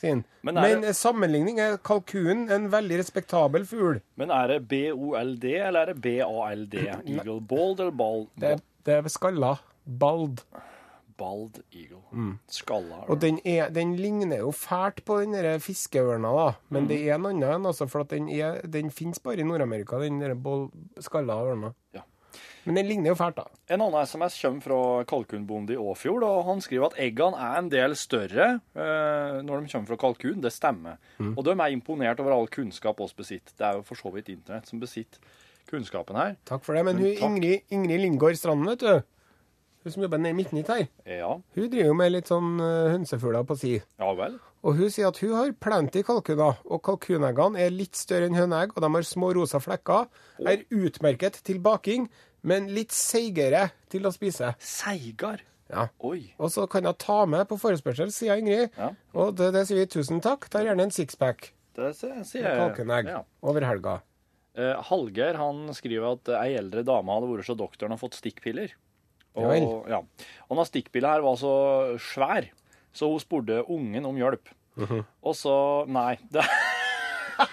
Sin. Men Men, er det- i sammenligning er kalkunen en veldig respektabel fugl. Men er det BOLD eller er det BALD? Eagle bald eller bald? Det, er- det er skalla. Bald. Bald eagle. Skalla Mm. Og ørn. den, er, den ligner jo fælt på den der fiskeørna, da. Men det er en annen enn, altså, for at den, er, den finnes bare i Nord-Amerika, den der boll- skalla ørna. Ja. Men den ligner jo fælt, da. En annen SMS kommer fra kalkunbonde i Åfjord, og han skriver at eggene er en del større eh, når de kommer fra kalkun. Det stemmer. Mm. Og de er imponert over all kunnskap oss besitter. Det er jo for så vidt internett som besitter kunnskapen her. Takk for det. Men hun takk. Ingrid, Ingrid Lindgård Strand, vet du. hun som jobber nede i Midtnytt her, Ja. hun driver jo med litt sånn eh, hønsefugler på si. Ja vel. Og hun sier at hun har plenty kalkuner, og kalkuneggene er litt større enn høneegg, og de har små rosa flekker. Er utmerket til baking, men litt seigere til å spise. Seigar. Ja. Oi. Og så kan jeg ta med på forespørsel, sier Ingrid. Ja. Og det, det sier vi tusen takk. Tar gjerne en sixpack Det sier sier jeg. kalkunegg Ja. over helga. Eh, Hallgeir han skriver at ei eldre dame hadde vært hos doktoren og fått stikkpiller. Ja Og, vel. ja. og den stikkpilla her var så svær, så hun spurte ungen om hjelp. Mhm. Og så Nei. Det,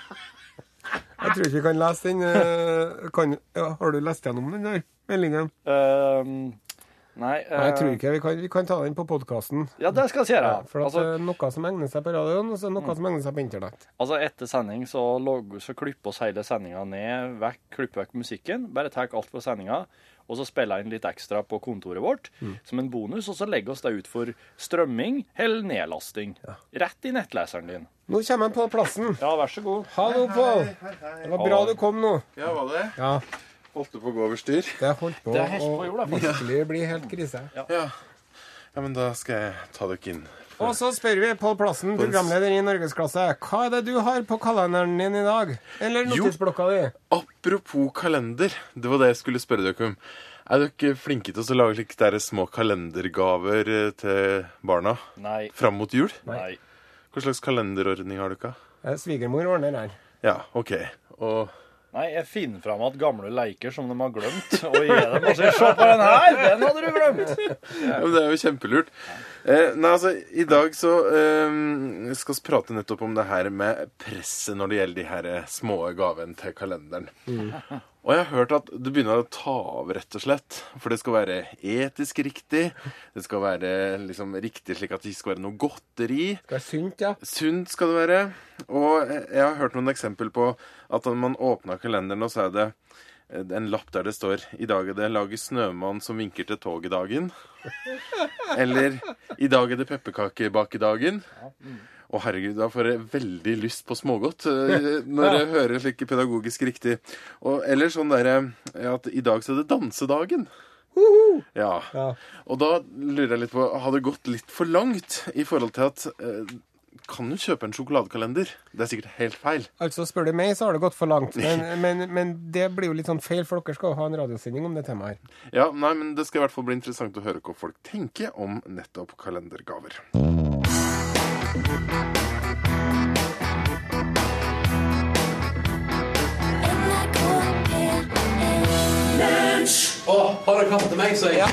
Jeg tror ikke vi kan lese den. eh, Kan, ja, har du lest gjennom den der meldingen? eh, nei, eh, Nei, jeg tror ikke vi kan, vi kan ta den på podkasten. Ja, det skal jeg si. Ja, For at altså, Mm. det er noe som egner seg på radioen, og så er det noe som egner seg på internett. Altså Etter sending så, logg- så klipper oss hele sendinga ned, vekk, klipper vekk musikken. Bare tar alt fra sendinga, og så spiller jeg inn litt ekstra på kontoret vårt som en bonus. Og så legger oss det ut for strømming eller nedlasting. Rett i nettleseren din. Nå kommer han på plassen. Ja, vær så god. Hallo, Pål. Det var bra du kom nå. Ja, var det? Ja, Holdt det på å gå over styr? det holdt på Det er helt på å jorda, faktisk. virkelig bli helt krise. Ja. ja, men da skal jeg ta dere inn. Og så spør vi Pål Plassen, programleder i Norgesklasse, hva er det du har på kalenderen din i dag? Eller Jo. notisblokka di? Apropos kalender, det var det jeg skulle spørre dere om. Er dere flinke til å lage slike der små kalendergaver eh, til barna Nei. fram mot jul? Nei. Hva slags kalenderordning har dere? Eh, Svigermor ordner her. Ja, OK. Og Nei, jeg finner fram at gamle leiker som de har glemt, og gir dem og sier 'se på den her', den hadde du glemt! ja, men Det er jo kjempelurt. Eh, nei, altså, I dag så eh, skal vi prate nettopp om det her med presset når det gjelder de her eh, små gavene til kalenderen. Og jeg har hørt at det begynner å ta av, rett og slett. For det skal være etisk riktig. Det skal være liksom riktig slik at det ikke skal være noe godteri. Skal være sunt, ja. Sunt skal det være. Og jeg har hørt noen eksempel på at når man åpna kalenderen, og så er det eh, en lapp der det står 'I dag er det laget snømann som vinker til toget-dagen'. Eller 'I dag er det pepperkakebakedagen'. Å herregud, da får jeg veldig lyst på smågodt eh, når jeg hører slike pedagogisk riktig. Og, eller sånn derre eh, at 'I dag så er det dansedagen'. Ja. ja. Og da lurer jeg litt på, har det gått litt for langt i forhold til at eh, kan du kjøpe en sjokoladekalender? Det er sikkert helt feil. Altså, spør du meg, så har det gått for langt. Men, men, men det blir jo litt sånn feil, for dere skal jo ha en radiosending om det temaet her. Ja, nei, men Det skal i hvert fall bli interessant å høre hva folk tenker om nettopp kalendergaver. har dere hatt til meg, så jeg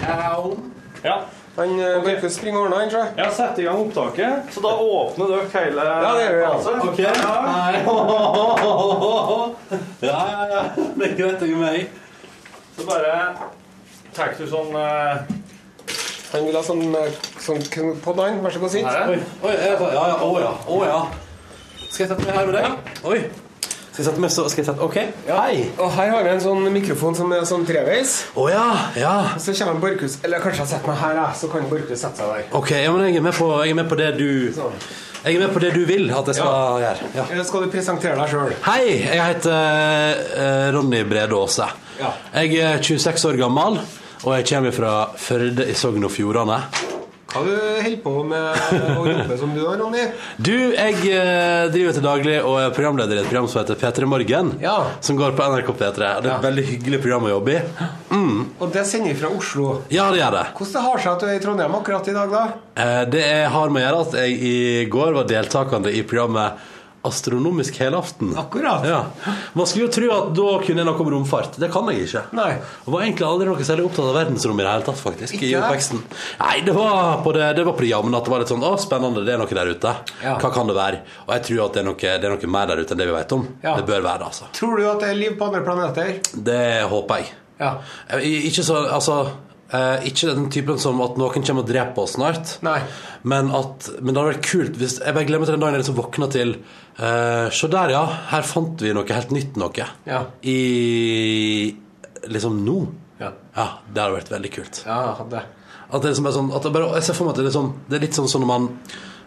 Ja. Han eh, Markus springer og ordner, han, tror jeg. Jeg har satt i gang opptaket, så da åpner dere hele Ja, det gjør vi, ja. Altså, Ok. Nei. Ja, ja, ja. Det er greit, jeg er med. Så bare tar du sånn eh, Han vil ha sånn, eh, sånn podd, han. Vær så god, sitt. her. Oi, oi, jeg bare, ja, ja, å ja, å ja. Skal jeg sette meg her med deg? Oi. Skal jeg sette meg så, skal jeg sette, ok. Hei. Og her har vi en sånn mikrofon som er sånn treveis. Å ja, ja. Og så kommer Borchhus Eller kanskje jeg setter meg her, jeg, så kan Borchhus sette seg der. Ok, ja, men jeg er med på, jeg er med på det du, jeg er med på det du vil at jeg skal gjøre. Ja. Eh, Skal du presentere deg sjøl? Hei, jeg heter eh, Ronny Brede Aase. Ja. Jeg er 26 år gammel, og jeg kommer fra Førde i Sogn og Fjordane. Hva du holder på med å jobbe som du da, Ronny? Du, jeg eh, driver til daglig og er programleder i et program som heter P3 Morgen. Ja. Som går på NRK P3. Det er et veldig hyggelig program å jobbe i. Og det sender vi fra Oslo. Ja, det gjør det. Hvordan det har seg at du er i Trondheim akkurat i dag, da? Eh, Det er- har med å gjøre at jeg i går var deltakende i programmet Astronomisk helaften. Akkurat. Ja. Man skulle jo tro at da kunne jeg noe om romfart. Det kan jeg ikke. Nei. Og var egentlig aldri noe særlig opptatt av verdensrommet i det hele tatt, faktisk. I Ikke? oppveksten. Nei, det var på det, det, var på det jevne at det var litt sånn Å, spennende, det er noe der ute. Ja. Hva kan det være? Og jeg tror at det er noe, det er noe mer der ute enn det vi vet om. Ja. Det bør være det, altså. Tror du at det er liv på andre planeter? Det håper jeg. Ja. Eh, i- Ikke så Altså eh, ikke den typen som at noen kommer og dreper oss snart. Nei. Men, at, men det hadde vært kult hvis Jeg bare glemmer til den dagen jeg liksom våkna til eh, Se der, ja. Her fant vi noe helt nytt noe. Ja. I Liksom nå. Ja. Det hadde vært veldig kult. Ja, hadde. At det liksom er sånn at det bare, Jeg ser for meg at det, liksom, det er litt sånn som når man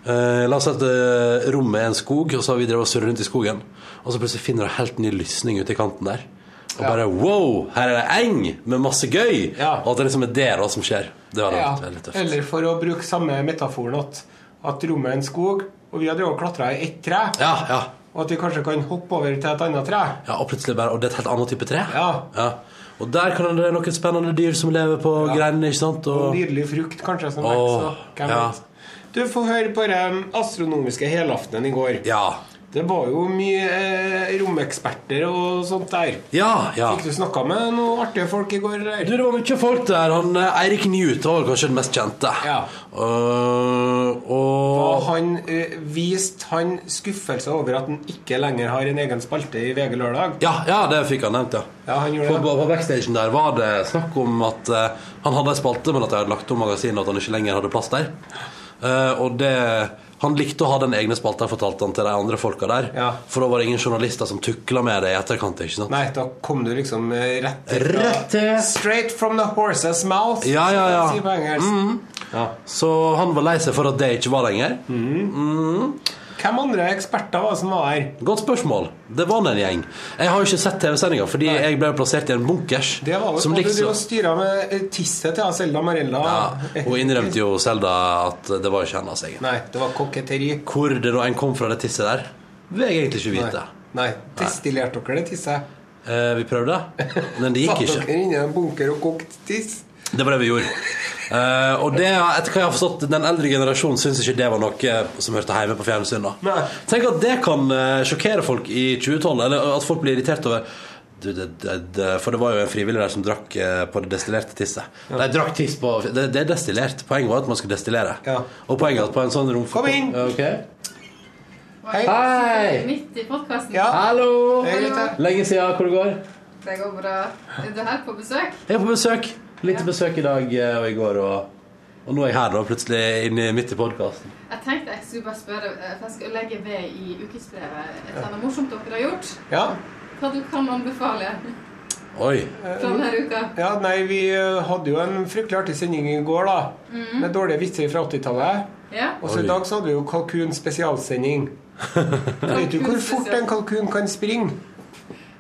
eh, La oss si at eh, rommet er en skog, og så har vi drevet og surret rundt i skogen. Og så plutselig finner du en helt ny lysning ute i kanten der. Og bare wow, her er det eng med masse gøy! Ja. Og at det liksom er det da som skjer. Det hadde Ja, vært veldig tøft. eller for å bruke samme metaforen at, at rommet er en skog, og vi har drevet og klatra i ett tre, Ja, ja. og at vi kanskje kan hoppe over til et annet tre. ja, og plutselig bare Og det er et helt annet type tre. Ja. Og der kan det være noen spennende dyr som lever på greinene, ikke sant? Og Og, nydelig frukt, kanskje, som Åh, vokser. Hvem ja. vet. Du får høre på den astronomiske helaftenen i går. ja. Det var jo mye eh, romeksperter og sånt der. Ja, ja. Fikk du snakka med noen artige folk i går, Du, eller? det var mye folk der. Han eh, Eirik Newt var vel kanskje den mest kjente. Ja. Øh, Og og han eh, viste han skuffelse over at han ikke lenger har en egen spalte i VG Lørdag. ja, ja, det fikk han nevnt, ja. Ja, han gjorde På, det. på, på backstagen der var det snakk om at eh, han hadde ei spalte, men at de hadde lagt om magasinet, og at han ikke lenger hadde plass der. Eh, og det Han likte å ha den egne spalta, fortalte han til de andre folka der. Ja. For da var det ingen journalister som tukla med det i etterkant. ikke sant? Nei, da kom du liksom eh, rett til Rett til- Straight from the horse's mouth. Ja, ja, ja. Mhm. som de sier på engelsk. Så han var lei seg for at det ikke var lenger. Hvem andre eksperter var det som var her? Godt spørsmål. Det var en gjeng. Jeg har jo ikke sett TV-sendinga, fordi jeg ble plassert i en bunkers. Det var jo og som du liksom- liksom... styra med eh, tisset til Selda Marella. Ja, Hun innrømte jo Selda at det var ikke hennes egen. Nei, det var koketteri. Hvor det nå enn kom fra det tisset der, vil jeg egentlig ikke Nei, vite. Nei. destillerte dere det tisset? Eh, vi prøvde, men det gikk Satt ikke. dere inne i en bunker og kokte tiss? Det var det vi gjorde. Eh, og det, etter hva jeg har forstått, den eldre generasjonen syns ikke det var noe som hørte hjemme på fjernsyn. da Nei. Tenk at det kan eh, sjokkere folk i 2012, eller at folk blir irritert over du, det, det, det, For det var jo en frivillig der som drakk eh, på det destillerte tisset. Nei, drakk tiss på det, det er destillert. Poenget var at man skulle destillere. Ja. Og poenget er at på en sånn rom Kom inn! Ja, ok. Hei. Hei! Midt i podkasten. Ja. Hallo! Hei, gutter. Lenge siden. Hvor det går? Det går bra. Er du her på besøk? Jeg er på besøk. Litt besøk i dag eh, og i går. Og, og nå er jeg her, da, plutselig inne midt i podkasten. Jeg tenkte jeg skulle bare spørre, eh, for jeg skal legge ved i ukesbrevet et eller annet morsomt dere har gjort. Ja. Hva du kan anbefale Oi. Eh, fra denne uka? ja, nei, vi eh, hadde jo en fryktelig artig sending i går, da. Med dårlige vitser fra 80-tallet. Ja? Og så Oi. i dag så hadde vi jo kalkun spesialsending. Vet du hvor fort en kalkun kan springe?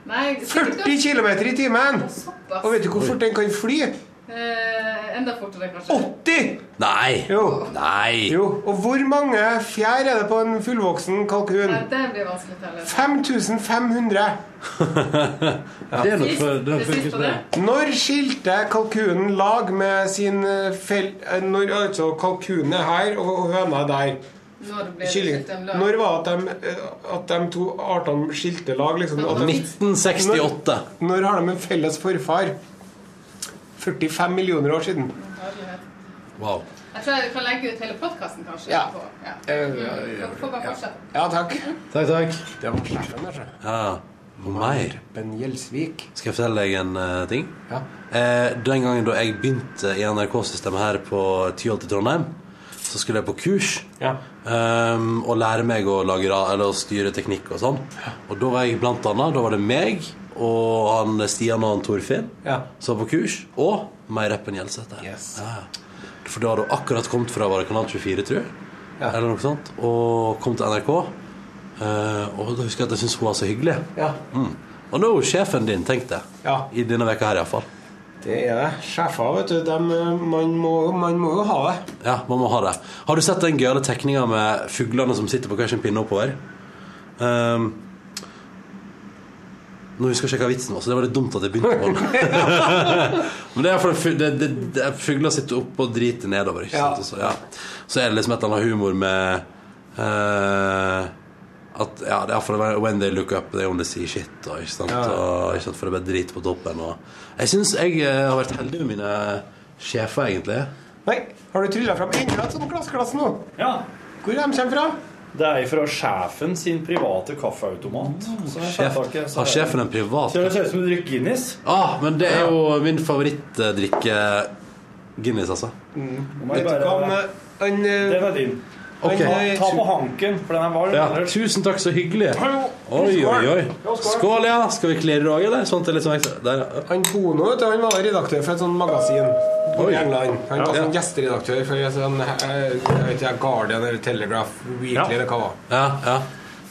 Nei, 40 km i timen! Såpass. Og vet du hvor fort den kan fly? Eh, enda fortere, kanskje. 80! Nei. Jo. Nei. jo. Og hvor mange fjær er det på en fullvoksen kalkun? Nei, det blir vanskelig å telle. 5500. Det er nok Sist- for det det siste funker på det. det. Når skilte kalkunen lag med sin eh, fel... eh, Når altså kalkunen er her og høna er der? Når blir det Kylling. skilt en løp? Når var det at de, eh, at de to artene skilte lag? liksom? At de 1968. Når har de en felles forfar? 45 millioner år siden. Wow. Jeg tror jeg kan legge ut hele podkasten, kanskje. Ja. På. ja. Eh, Dere får bare fortsette. Ja, takk. Takk, takk. Det var sjefen, altså. Ja. Og mer. Ben Gjelsvik. Skal jeg fortelle deg en eh, ting? Ja. Eh, den gangen da jeg begynte i NRK-systemet her på Tyholt i Trondheim, så skulle jeg på kurs. Ja. Ehm, og lære meg å, lage, ra- eller å styre teknikk og sånn. Og da var jeg blant annet, da var det meg og han Stian og han Torfinn Ja. som var på kurs, og Meireppen Gjelseth. Yes. Ja. For da hadde hun akkurat kommet fra var det Kanal 24, tror jeg, Ja. eller noe sånt, og kom til NRK. Eh, og da husker jeg at jeg syntes hun var så hyggelig. ja. Mm. Og nå er hun sjefen din, tenkte jeg. Ja. I denne veka her, iallfall. Det er det. Sjefer, vet du, dem, eh, man, må, man må jo ha det. Ja, man må ha det. Har du sett den gøyale tegninga med fuglene som sitter på hver sin pinne oppover? Ehm, nå husker jeg ikke hva vitsen var, så det var litt dumt at jeg begynte på den. Men det er for fu- det, det, det, er fugler sitter oppe og driter nedover. Ikke Ja. sant? Og Så, ja. så er det liksom et eller annet humor med eh, at, ja, det er for det, When they look up, they only see shit. Og, ikke sant? Og, ikke sant? For det er bare drit på toppen. Og. Jeg syns jeg eh, har vært heldig med mine sjefer, egentlig. Nei, har du trylla fram enda et sånt glassglass nå? Ja. Hvor er de kommer fra? Det er fra sjefen sin private kaffeautomat. Mm, Så jeg Sjef, skjønner ikke, så har er- sjefen en privat Så det ser ut som du drikker Guinness. ah, Men det er jo min favorittdrikke Guinness, altså. Nå må jeg Vet du hva, bare- han, eh, han, eh, Den er din. Ok. han, eh, Ta på hanken, for den er varm. Ja, ellers- tusen takk, så hyggelig. Oi, oi, oi. Skål, ja. Skal vi klirre òg, eller? Sånt er litt sånn ekstra. Der, ja. Han Bono vet du, han var redaktør for et sånt magasin borte i Oi. England. Han var Ja. sånn gjesteredaktør for et sånn, eh, jeg vet ikke, Guardian eller Telegraph Weekly eller hva det var. ja, ja.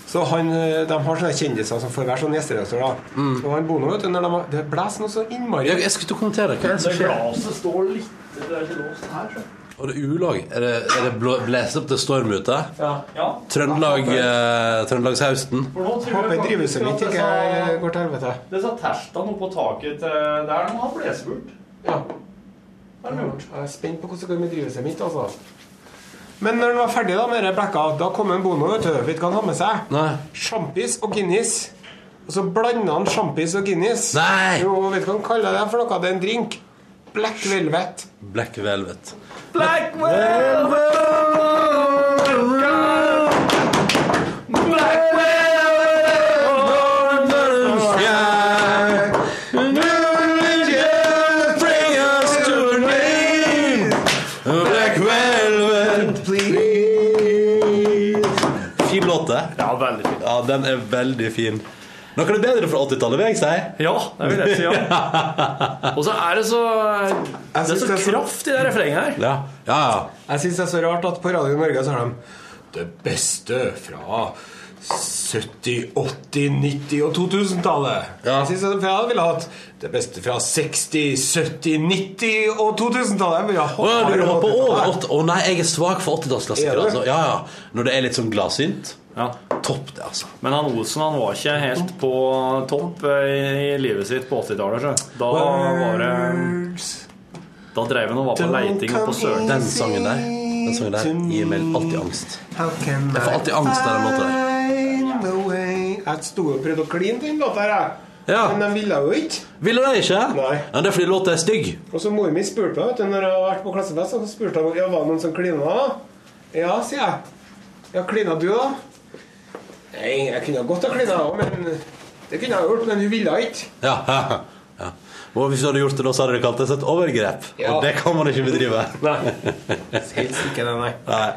Så han, eh, De har sånne kjendiser som får være sånn gjesteredaktør. da. Og han Bono, vet du, når de, har- det blåser noe så innmari Mm. Jeg, jeg skulle til å kommentere hva er det som skjer. glaset står litt Det er ikke låst her. Og det er ulag. Er det, er det blå- blåser opp til storm ute? Ja, Trøndelag, eh, Trøndelagshausten. for nå tror Håper jeg faktisk drivhuset mitt at ikke eh, går til helvete. disse teltene oppå taket til der nå har blesebult. Ja. Det er lurt. Jeg er spent på hvordan det går med drivhuset mitt, altså. Men når han var ferdig da med det blekka, da kom en Bono, vet du. Vet du hva han har med seg? Nei. Sjampis og Guinness. Og så blanda han sjampis og Guinness. Nei! Jo, vet du hva han kaller det for noe? Det er en drink. Black Velvet. Black Velvet. Black Velvet! Black Fin låt, det. Ja, veldig fint. Ja, den er veldig fin. Noe av det bedre fra 80-tallet, vil jeg si. Ja, det vil jeg si, ja. Og så er det så Jeg Det er synes så det er så- kraft i det refrenget her. Ja, ja. ja. Jeg syns det er så rart at på Radio Norge så har de det beste fra 70-, 80-, 90- og 2000-tallet. Ja. Jeg synes at for jeg ville hatt det beste fra 60-, 70-, 90- og 2000-tallet. Jeg ville ha Å ja, du vil hoppe over 80-tallet. 80 Å nei, jeg er svak for 80-tallsklassikere. Er du? Altså. Ja, ja. Når det er litt sånn gladsynt. Ja. Topp, det, altså. Men han Olsen han var ikke helt på topp eh, i livet sitt på 80-tallet. så. Da var det Da dreiv han og var på leiting oppe på Søren. Den sangen der Den sangen der gir meg alltid angst. How can Jeg får alltid angst av den låta der. find the way? Jeg sto og prøvde å kline til den låta her, jeg. Ja. Men de ville jo ikke. Ville de ikke? Nei. Ja, det er fordi låta er stygg. Og så mor mi spurte meg, vet du, når jeg har vært på klassefest, så spurte hun ja, var det noen som klina. da?» Ja, sier jeg. Ja, klina du, da? Nei, jeg kunne godt ha klina, jeg også, men det kunne jeg gjort, men hun ville ikke. Ja, ja, ja. Og hvis du hadde gjort det da, så hadde det kalt det et overgrep. Ja. Og det kan man ikke bedrive. Helt sikker, nei. Nei.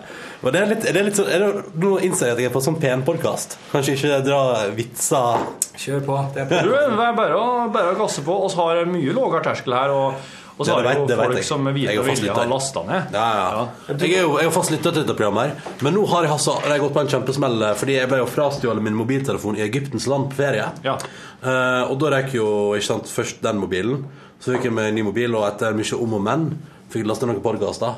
Og det er litt, det er litt sånn er det, Nå innser jeg at jeg er på en sånn pen podkast. Kanskje ikke dra vitser Kjør på. Det er Du, det er bare å, bare å gasse på. Vi har mye lavere terskel her. Og, og så Det har vet- jo det vet folk jeg. som med Jeg viten er og vilje fastlytter. har lasta ned. Ja, ja. Jeg er jo jeg har fast lytta til dette programmet, her men nå har jeg, altså, jeg har gått på en kjempesmell eh, fordi jeg ble jo frastjålet min mobiltelefon i Egyptens land på ferie. Ja. Eh, og da røyk jo ikke sant, først den mobilen. Så fikk jeg meg en ny mobil, og etter mye om og men fikk jeg lasta noen podkaster.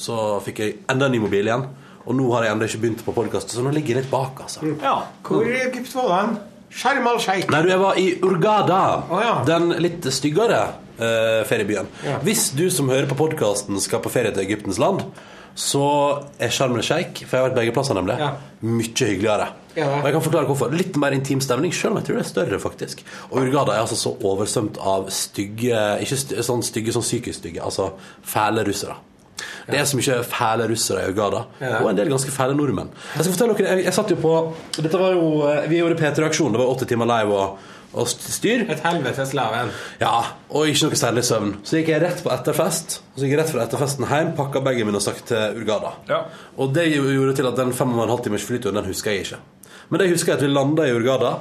Så fikk jeg enda en ny mobil igjen, og nå har jeg ennå ikke begynt på podkast. Så nå ligger jeg litt bak, altså. Ja. Mm. Hvor i Egypt var den? Sharm al-Sheikh. Nei, du, jeg var i Urgada. Å, ja. Den litt styggere eh, feriebyen. Hvis du som hører på podkasten skal på ferie til Egyptens land, så er Sharm el Sheikh, for jeg har vært begge plasser, nemlig, Ja. mye hyggeligere. Ja. Og jeg kan forklare hvorfor. Litt mer intim stemning, sjøl om jeg tror det er større, faktisk. Og Urgada er altså så oversvømt av stygge Ikke sty- sånn stygge, sånn psykisk stygge, altså fæle russere. Det er så mye fæle russere i Uganda, og en del ganske fæle nordmenn. Jeg skal fortelle dere, jeg, jeg satt jo på Dette var jo, eh, Vi gjorde P3-aksjon. Det var åtte timer live og, og st- styr. Et helvetes leven. Ja, Og ikke noe særlig søvn. Så gikk jeg rett på etterfest. Og så gikk jeg rett fra etterfesten hjem, pakka bagen min og stakk til Urgada. Ja. Og det gjorde til at den fem og en halv timers flyturen, den husker jeg ikke. Men det husker jeg at vi landa i Urgada.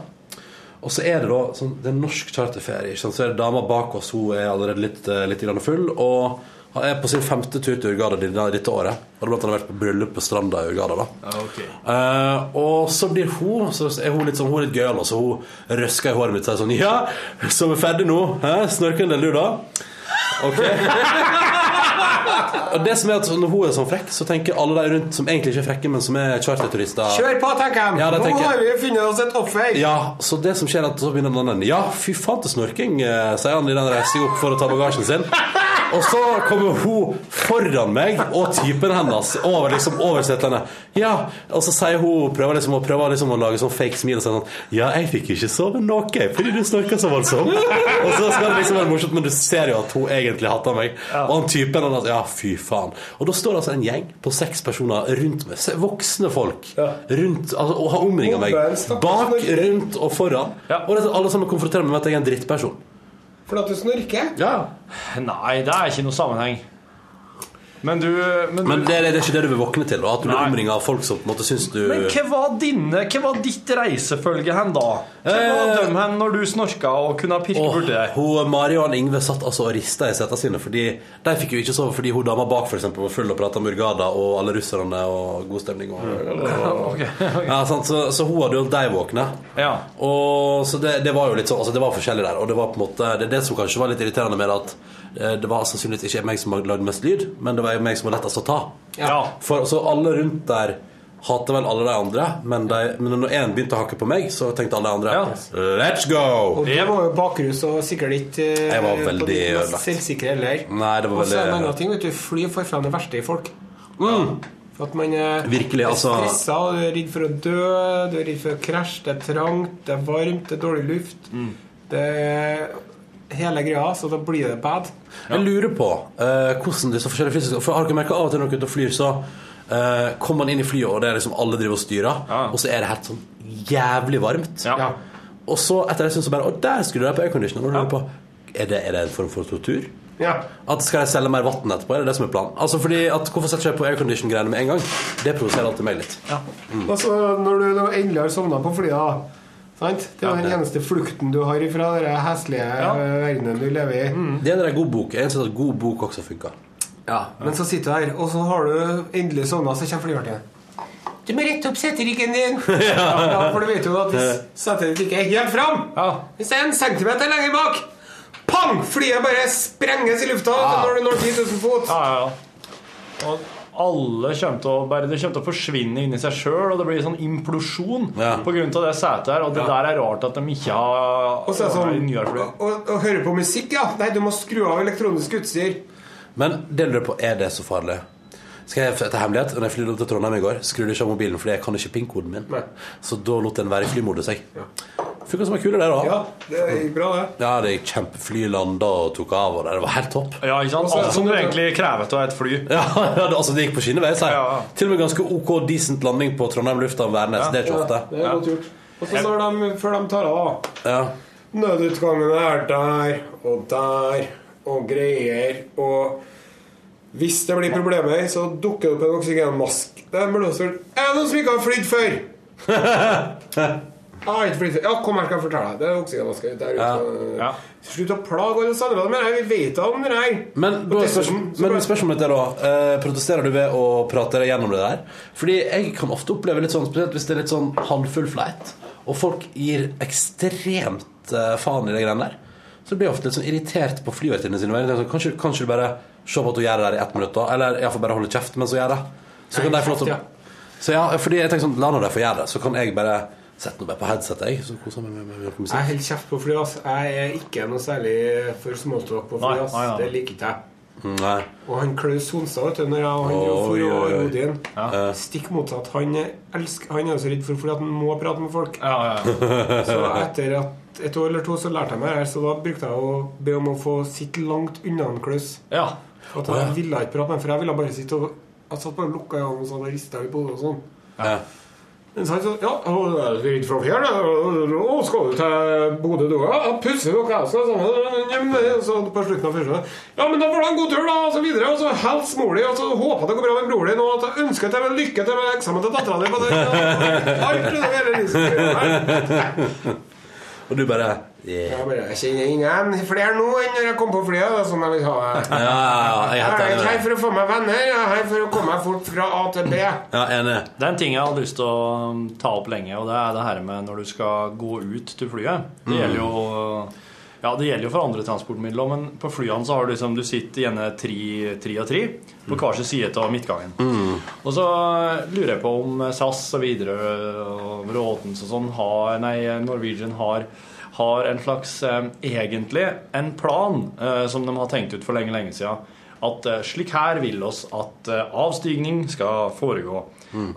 Og så er det da sånn, det er en norsk charterferie. Ikke sant? Så er det dama bak oss, hun er allerede litt, eh, litt grann full. Og er på sin femte tur til Urgada denne- dette året. Har blant annet vært på bryllup på stranda i Urgada. da ok. Eh, Og så blir hun Så er hun litt sånn, hun er litt gøyal, og så hun røsker i håret mitt og sier sånn Ja, så er vi ferdig nå. Hæ? Snorker en del, du, da? Og det som er at Når hun er sånn frekk, så tenker alle de rundt som egentlig ikke er frekke, men som er charterturister Kjør på, tenker jeg. Ja, det tenker Nå jeg. har vi funnet oss et offer. ja, så det som skjer er at så begynner den andre Ja, fy faen til snorking, eh, sier han i den reising opp for å ta bagasjen sin. Og så kommer hun foran meg og typen hennes over liksom oversettende. Ja, og så sier hun prøver liksom, å- prøver liksom å lage sånn fake smil og sier sånn Ja, jeg fikk ikke sove noe fordi du snorka så voldsomt. Og så skal det liksom være morsomt, men du ser jo at hun egentlig hater meg. Og han typen hennes Ja, fy faen. Og da står det altså en gjeng på seks personer rundt meg. se- Voksne folk rundt altså, og har omringa meg. Bombe, stakkars Bak, snorker. rundt og foran. Ja. Og det, er alle sammen konfronterer meg med at jeg er en drittperson. For at du snorker. Ja. Nei, det er ikke noe sammenheng. Men du, men du Men det, det er ikke det du vil våkne til? Da, at du blir Nei. omringa av folk som på en måte syns du Men hva var dine, hva var ditt reisefølge hen da? Hva var Eh. dem hen når du snorka og kunne ha pirket Åh, borti deg? hun, Mari og han Ingve satt altså og rista i setene sine. Fordi De fikk jo ikke sove fordi hun dama bak for eksempel, var full og prata Murgada og alle russerne og god stemning. Og, Mm. Ok, ok. Ja, sant? Så, så hun hadde jo holdt deg våkne. Ja. Og, så det, det var jo litt sånn altså, Det var forskjellig der. Og det var på en måte Det er det som kanskje var litt irriterende med det, at eh, det var sannsynligvis ikke meg som lagde mest lyd, men det var meg som var lettest å ta. Ja. For, så alle rundt der hater vel alle de andre, men, de, men når én begynte å hakke på meg, så tenkte alle de andre Let's go! Og det var jo bakrus og sikkert ikke eh, Jeg var på veldig ditt mest ødelagt. selvsikre heller. Nei, det var Og så er det en veldig- Mm. annen ting, vet du. Fly får frem det verste i folk. For At man eh, Virkelig, altså- er stressa, og du er redd for å dø, du er redd for å krasje, det er trangt, det er varmt, det er dårlig luft. Mm. Det er hele greia, så da blir det bad. Jeg lurer på eh, hvordan disse forskjellige flyselskapene For har dere merket av og til når dere er ute og flyr, så eh, kommer man inn i flyet, og det er liksom alle driver og styrer, Ja. og så er det helt sånn jævlig varmt. Ja. Ja. Og så etter det syns jeg bare Å, der skulle du ha på aircondition. Og du lurer på er det, er det en form for tortur? Ja. At Skal jeg selge mer vann etterpå? Er det det som er planen? Altså fordi at Hvorfor setter jeg ikke på aircondition-greiene med en gang? Det provoserer alltid meg litt. Mm. Altså, når du da endelig har sovna på flyet, da. Sant? Det er jo den eneste flukten du har ifra den heslige eh, verdenen du lever i. Det er en god bok. Jeg innser at god bok også funker. Ja, Men så sitter du her, og så har du endelig sovna, så kommer flyvertinnen. Du må rette opp seteryggen din! ja. For du vet jo at hvis setet ikke er helt fram, hvis det er en centimeter lenger bak Pang! Flyet bare sprenges i lufta når du når 10 000 fot. Ja, ja, ja. Og alle kommer til å bare, Det kommer til å forsvinne inni seg sjøl, og det blir sånn implosjon Ja. på grunn av det setet her. Og det der er rart at de ikke har Og så er det har sånn nyere fly. og, og, og høre på musikk, ja. Nei, du må skru av elektronisk utstyr. Men det lurer jeg på, er det så farlig? Skal jeg til hemmelighet? Når jeg flydde opp til Trondheim i går, skrudde jeg ikke av mobilen fordi jeg kan ikke pin-koden min. Nei. Så da lot jeg den være i flymodus, jeg. Funka som en kule, det, da. Ja, det gikk bra, det. Ja, det gikk kjempeflyland da og tok av, og det var helt topp. Ja, ikke sant? så er det Alt som sånn- du egentlig krever av et fly. Ja, ja, det- altså Det gikk på skinneveis her. Ja, ja. Til og med ganske ok decent landing på Trondheim lufthavn Værnes. Det er ikke ofte. Det er godt gjort. Og så står de før de tar av. da. Ja. Nødutgangen er der og der og greier. Og hvis det blir problemer, så dukker det opp en oksygenmask. Den blåser Er det noen som ikke har flydd før? Jeg har ikke flydd før. Ja, kom her, skal jeg fortelle deg. Det er oksygenmaske der ute. Ja. Slutt å plage alle sammen. Men jeg, vi vet da om det her. Men, da, er Og spørsmål, dessuten så men bare- spørsmålet mitt er da eh, Protesterer du ved å prate deg gjennom det der? Fordi jeg kan ofte oppleve litt sånn Spesielt hvis det er litt sånn handfull fleit Og folk gir ekstremt eh, faen i det greiene der Så blir jeg ofte litt sånn irritert på flyvertinne sine vegne. Jeg tenker sånn, kanskje, kanskje du bare Se på at hun gjør det der i ett minutt da Eller i hvert fall bare holde kjeft mens hun gjør det Så kan de få lov til kjeft, å Så ja, fordi jeg tenker sånn La nå de få gjøre det Så kan jeg bare Sette noe bare på headsetet jeg Så koser jeg meg med, med, med, Jeg musikk holder kjeft på fly, ass. Jeg er ikke noe særlig for smalltalk på fly, Nei, ass. nei, nei. Det liker ikke jeg. Nei Og han Klaus Sonstad, vet du, når jeg og han jo Oi, for å oi, oi. Odin Stikk motsatt. Han elsker Han er jo så redd for fordi at han må prate med folk. Ja, ja, ja. Så etter at et år eller to så lærte jeg meg det her, så da brukte jeg å be om å få sitte langt unna han Klaus. ja. For at jeg ville ikke prate med ham, for jeg ville bare sitte og Jeg satt bare og lukka øynene og sånn og rista i hodet og sånn. Ja. Men så han sa Ja, og er du redd for å fjerne? Å, skal du til Bodø, du òg? Ja, pusse dere altså, også sammen. Så på slutten av første Ja, men da får du ha en god tur, da, og så videre. Og så hils mor di, og så håper jeg det går bra med bror din, og at jeg ønsker deg vel lykke til med eksamen til dattera di. på det- Alt det der hele livsgreia. Og du bare yeah. Jeg bare, jeg kjenner ingen flere nå enn når jeg kom på flyet. Det er sånn jeg vil ha det. Ja, ja, ja, jeg Jeg heter er ikke her det for å få meg venner, jeg er her for å komme meg fort fra A til B. Ja, enig Det er en ting jeg har lyst til å um, ta opp lenge, og det er det her med når du skal gå ut til flyet. Det gjelder jo ja, det gjelder jo for andre transportmidler, også, men på flyene så har du liksom, du sitter gjerne tre, tre og tre på hver sin side av midtgangen. Og så lurer jeg på om SAS og videre og Råtens og sånn har, nei, Norwegian har, har en slags eh, egentlig en plan eh, som de har tenkt ut for lenge, lenge siden. At eh, slik her vil oss at eh, avstigning skal foregå.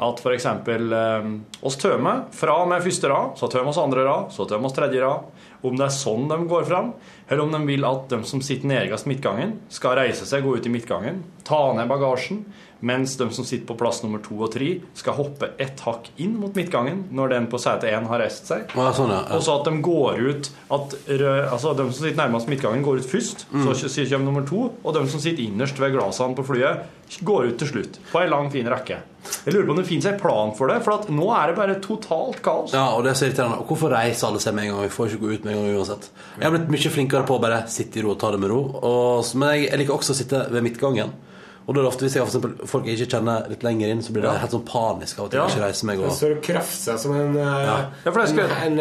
At for eksempel eh, oss tømmer fra og med første rad, så tømmer oss andre rad, så tømmer oss tredje rad. Om det er sånn de går fram, eller om de vil at de som sitter nederst midtgangen, skal reise seg, gå ut i midtgangen, ta ned bagasjen, mens de som sitter på plass nummer to og tre, skal hoppe ett hakk inn mot midtgangen når den på sete én har reist seg. Ja, sånn, ja. Og så at de går ut at rø- altså De som Mm. sitter nærmest midtgangen, går ut først. Så kj- sier- kommer nummer to. Og de som sitter innerst ved glassene på flyet, går ut til slutt. På ei lang, fin rekke. Jeg lurer på om det finnes en plan for det, for at nå er det bare totalt kaos. Ja, og det er så irriterende. Og Hvorfor reiser alle seg med en gang? Vi får ikke gå ut med en gang uansett. Jeg har blitt mye flinkere på å bare sitte i ro og ta det med ro. Og, men jeg, jeg liker også å sitte ved midtgangen. Og da er det ofte hvis jeg for eksempel, folk jeg ikke kjenner litt lenger inn, så blir det helt sånn panisk av at jeg Ja. ikke reiser meg. Og Og, så krafser seg som en, eh, Ja. Ja, for det en, skulle jeg- en,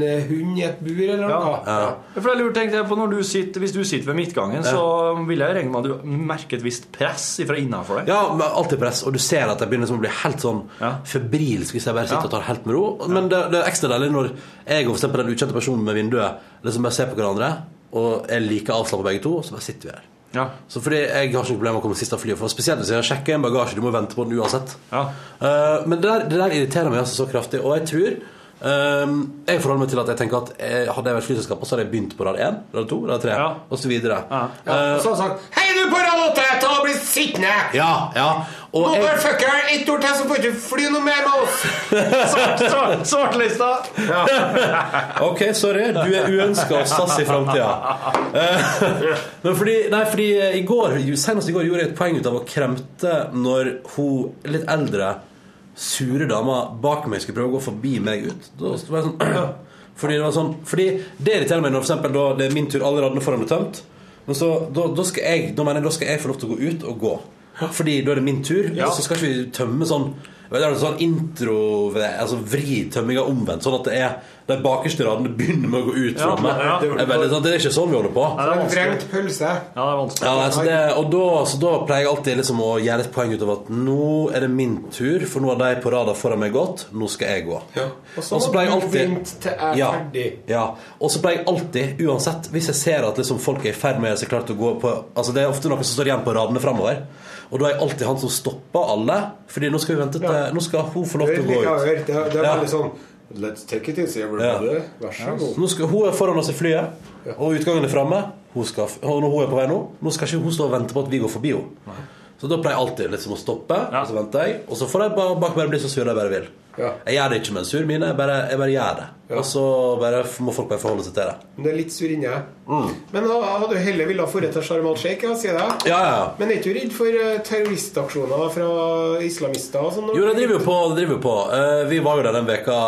en, eh, hund i et bur eller noe. Ja. For jeg lurer, tenkte jeg på når du sitter, Hvis du sitter ved midtgangen, så vil jeg regne med at du merker et visst press fra innenfor deg. ja, men alltid press. Og du ser at jeg begynner som å bli helt sånn Ja. febrilsk hvis jeg bare sitter Ja. og tar helt med ro. Men det, det er ekstra deilig når jeg og for eksempel den ukjente personen med vinduet liksom bare ser på hverandre, og er like avslappa begge to, så bare sitter vi her. Ja. Så fordi Jeg har ikke noe problem med å komme sist av flyet, for spesielt hvis jeg har sjekka inn bagasje. Du må vente på den uansett. Ja. Eh, men det der, det der irriterer meg altså så kraftig, og jeg tror eh, Jeg forholder meg til at jeg tenker at eh, hadde jeg vært flyselskapet, så hadde jeg begynt på rad 1, rad 2, rad 3 Ja. og så videre. Ja. Ja. Eh, Så har han sagt 'Hei, du på rad åtte! Ta og bli sittende!' ja, ja. Og Nå bare jeg, fucker jeg ett ord til, så får du ikke fly noe mer med oss! Svart, svart, svartlista! ok, sorry. Du er uønska hos SAS i framtida. men fordi, nei, fordi eh, i går, senest i går gjorde jeg et poeng ut av å kremte når hun litt eldre, sure dama bak meg skulle prøve å gå forbi meg ut. Da var jeg sånn Fordi det var sånn Fordi det irriterer meg når for eksempel, da det er min tur, alle radene foran er tømt. Men så, da, da, skal jeg, da mener jeg da skal jeg få lov til å gå ut og gå. Fordi da er det min tur. Og så skal ikke vi tømme sånn det er en sånn intro Altså vri tømminga omvendt, sånn at det er de bakerste radene begynner med å gå ut Ja, fra meg. ja. Det er veldig sånn, det er ikke sånn vi holder på. Ja, det er vanskelig. Vrengt pølse. Ja, det er vanskelig. Ja, altså det, og da, så da pleier jeg alltid liksom å gjøre et poeng ut av at nå er det min tur, for nå har de på raden foran meg gått, nå skal jeg gå. Og så Og så må pleier jeg du alltid vente til jeg er ja, ferdig. Ja. Og så pleier jeg alltid, uansett, hvis jeg ser at liksom folk er i ferd med å gjøre seg klare til å gå på Altså det er ofte noen som står igjen på radene framover. Og da er jeg alltid han som stopper alle, Fordi nå skal vi vente til Nå skal hun få lov Det til er å gå like ut. høyt. Det er, det er Ja. veldig sånn Let's take it easy, everybody. Vær så god. Nå skal, hun er foran oss i flyet, og utgangen er framme. Hun skal, og når hun er på vei nå, nå skal ikke hun stå og vente på at vi går forbi henne. Så da pleier jeg alltid liksom å stoppe, og så venter jeg. Og så får jeg bare, bak bare bli så sur jeg bare vil. Ja. Jeg gjør det ikke med en sur mine, jeg bare, jeg bare gjør det. Og så bare f- må folk bare forholde seg til det. Men det er litt sur inni deg. Mm. Men da hadde du heller villet foreta Sharm el Sheikh, ja, sier jeg. Ja, ja, ja. Men er ikke du redd for eh, terroristaksjoner fra islamister og sånn? Jo, det driver jo på. Det driver jo på. Eh, vi var jo der den veka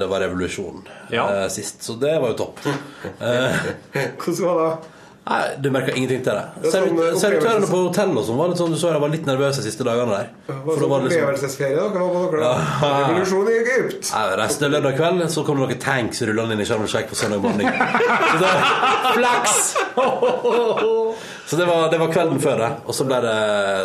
det var revolusjon Ja. eh, sist, så det var jo topp. Eh, Hvordan var det? nei, du merka ingenting til det. Det er sånn, eh, Servit- Servitørene opplevelse. på hotellet og sånn var litt sånn, du så de var litt nervøse de siste dagene der. Var det da var sånn det liksom- opplevelsesferie dere var på dere? da? Revolusjon i Egypt! Nei, Resten av lørdag kveld så kom det noen tanks rullende inn i Sharm el Sheikh på søndag morgen. Så det flaks! Så det var, det var kvelden før det. Og så ble det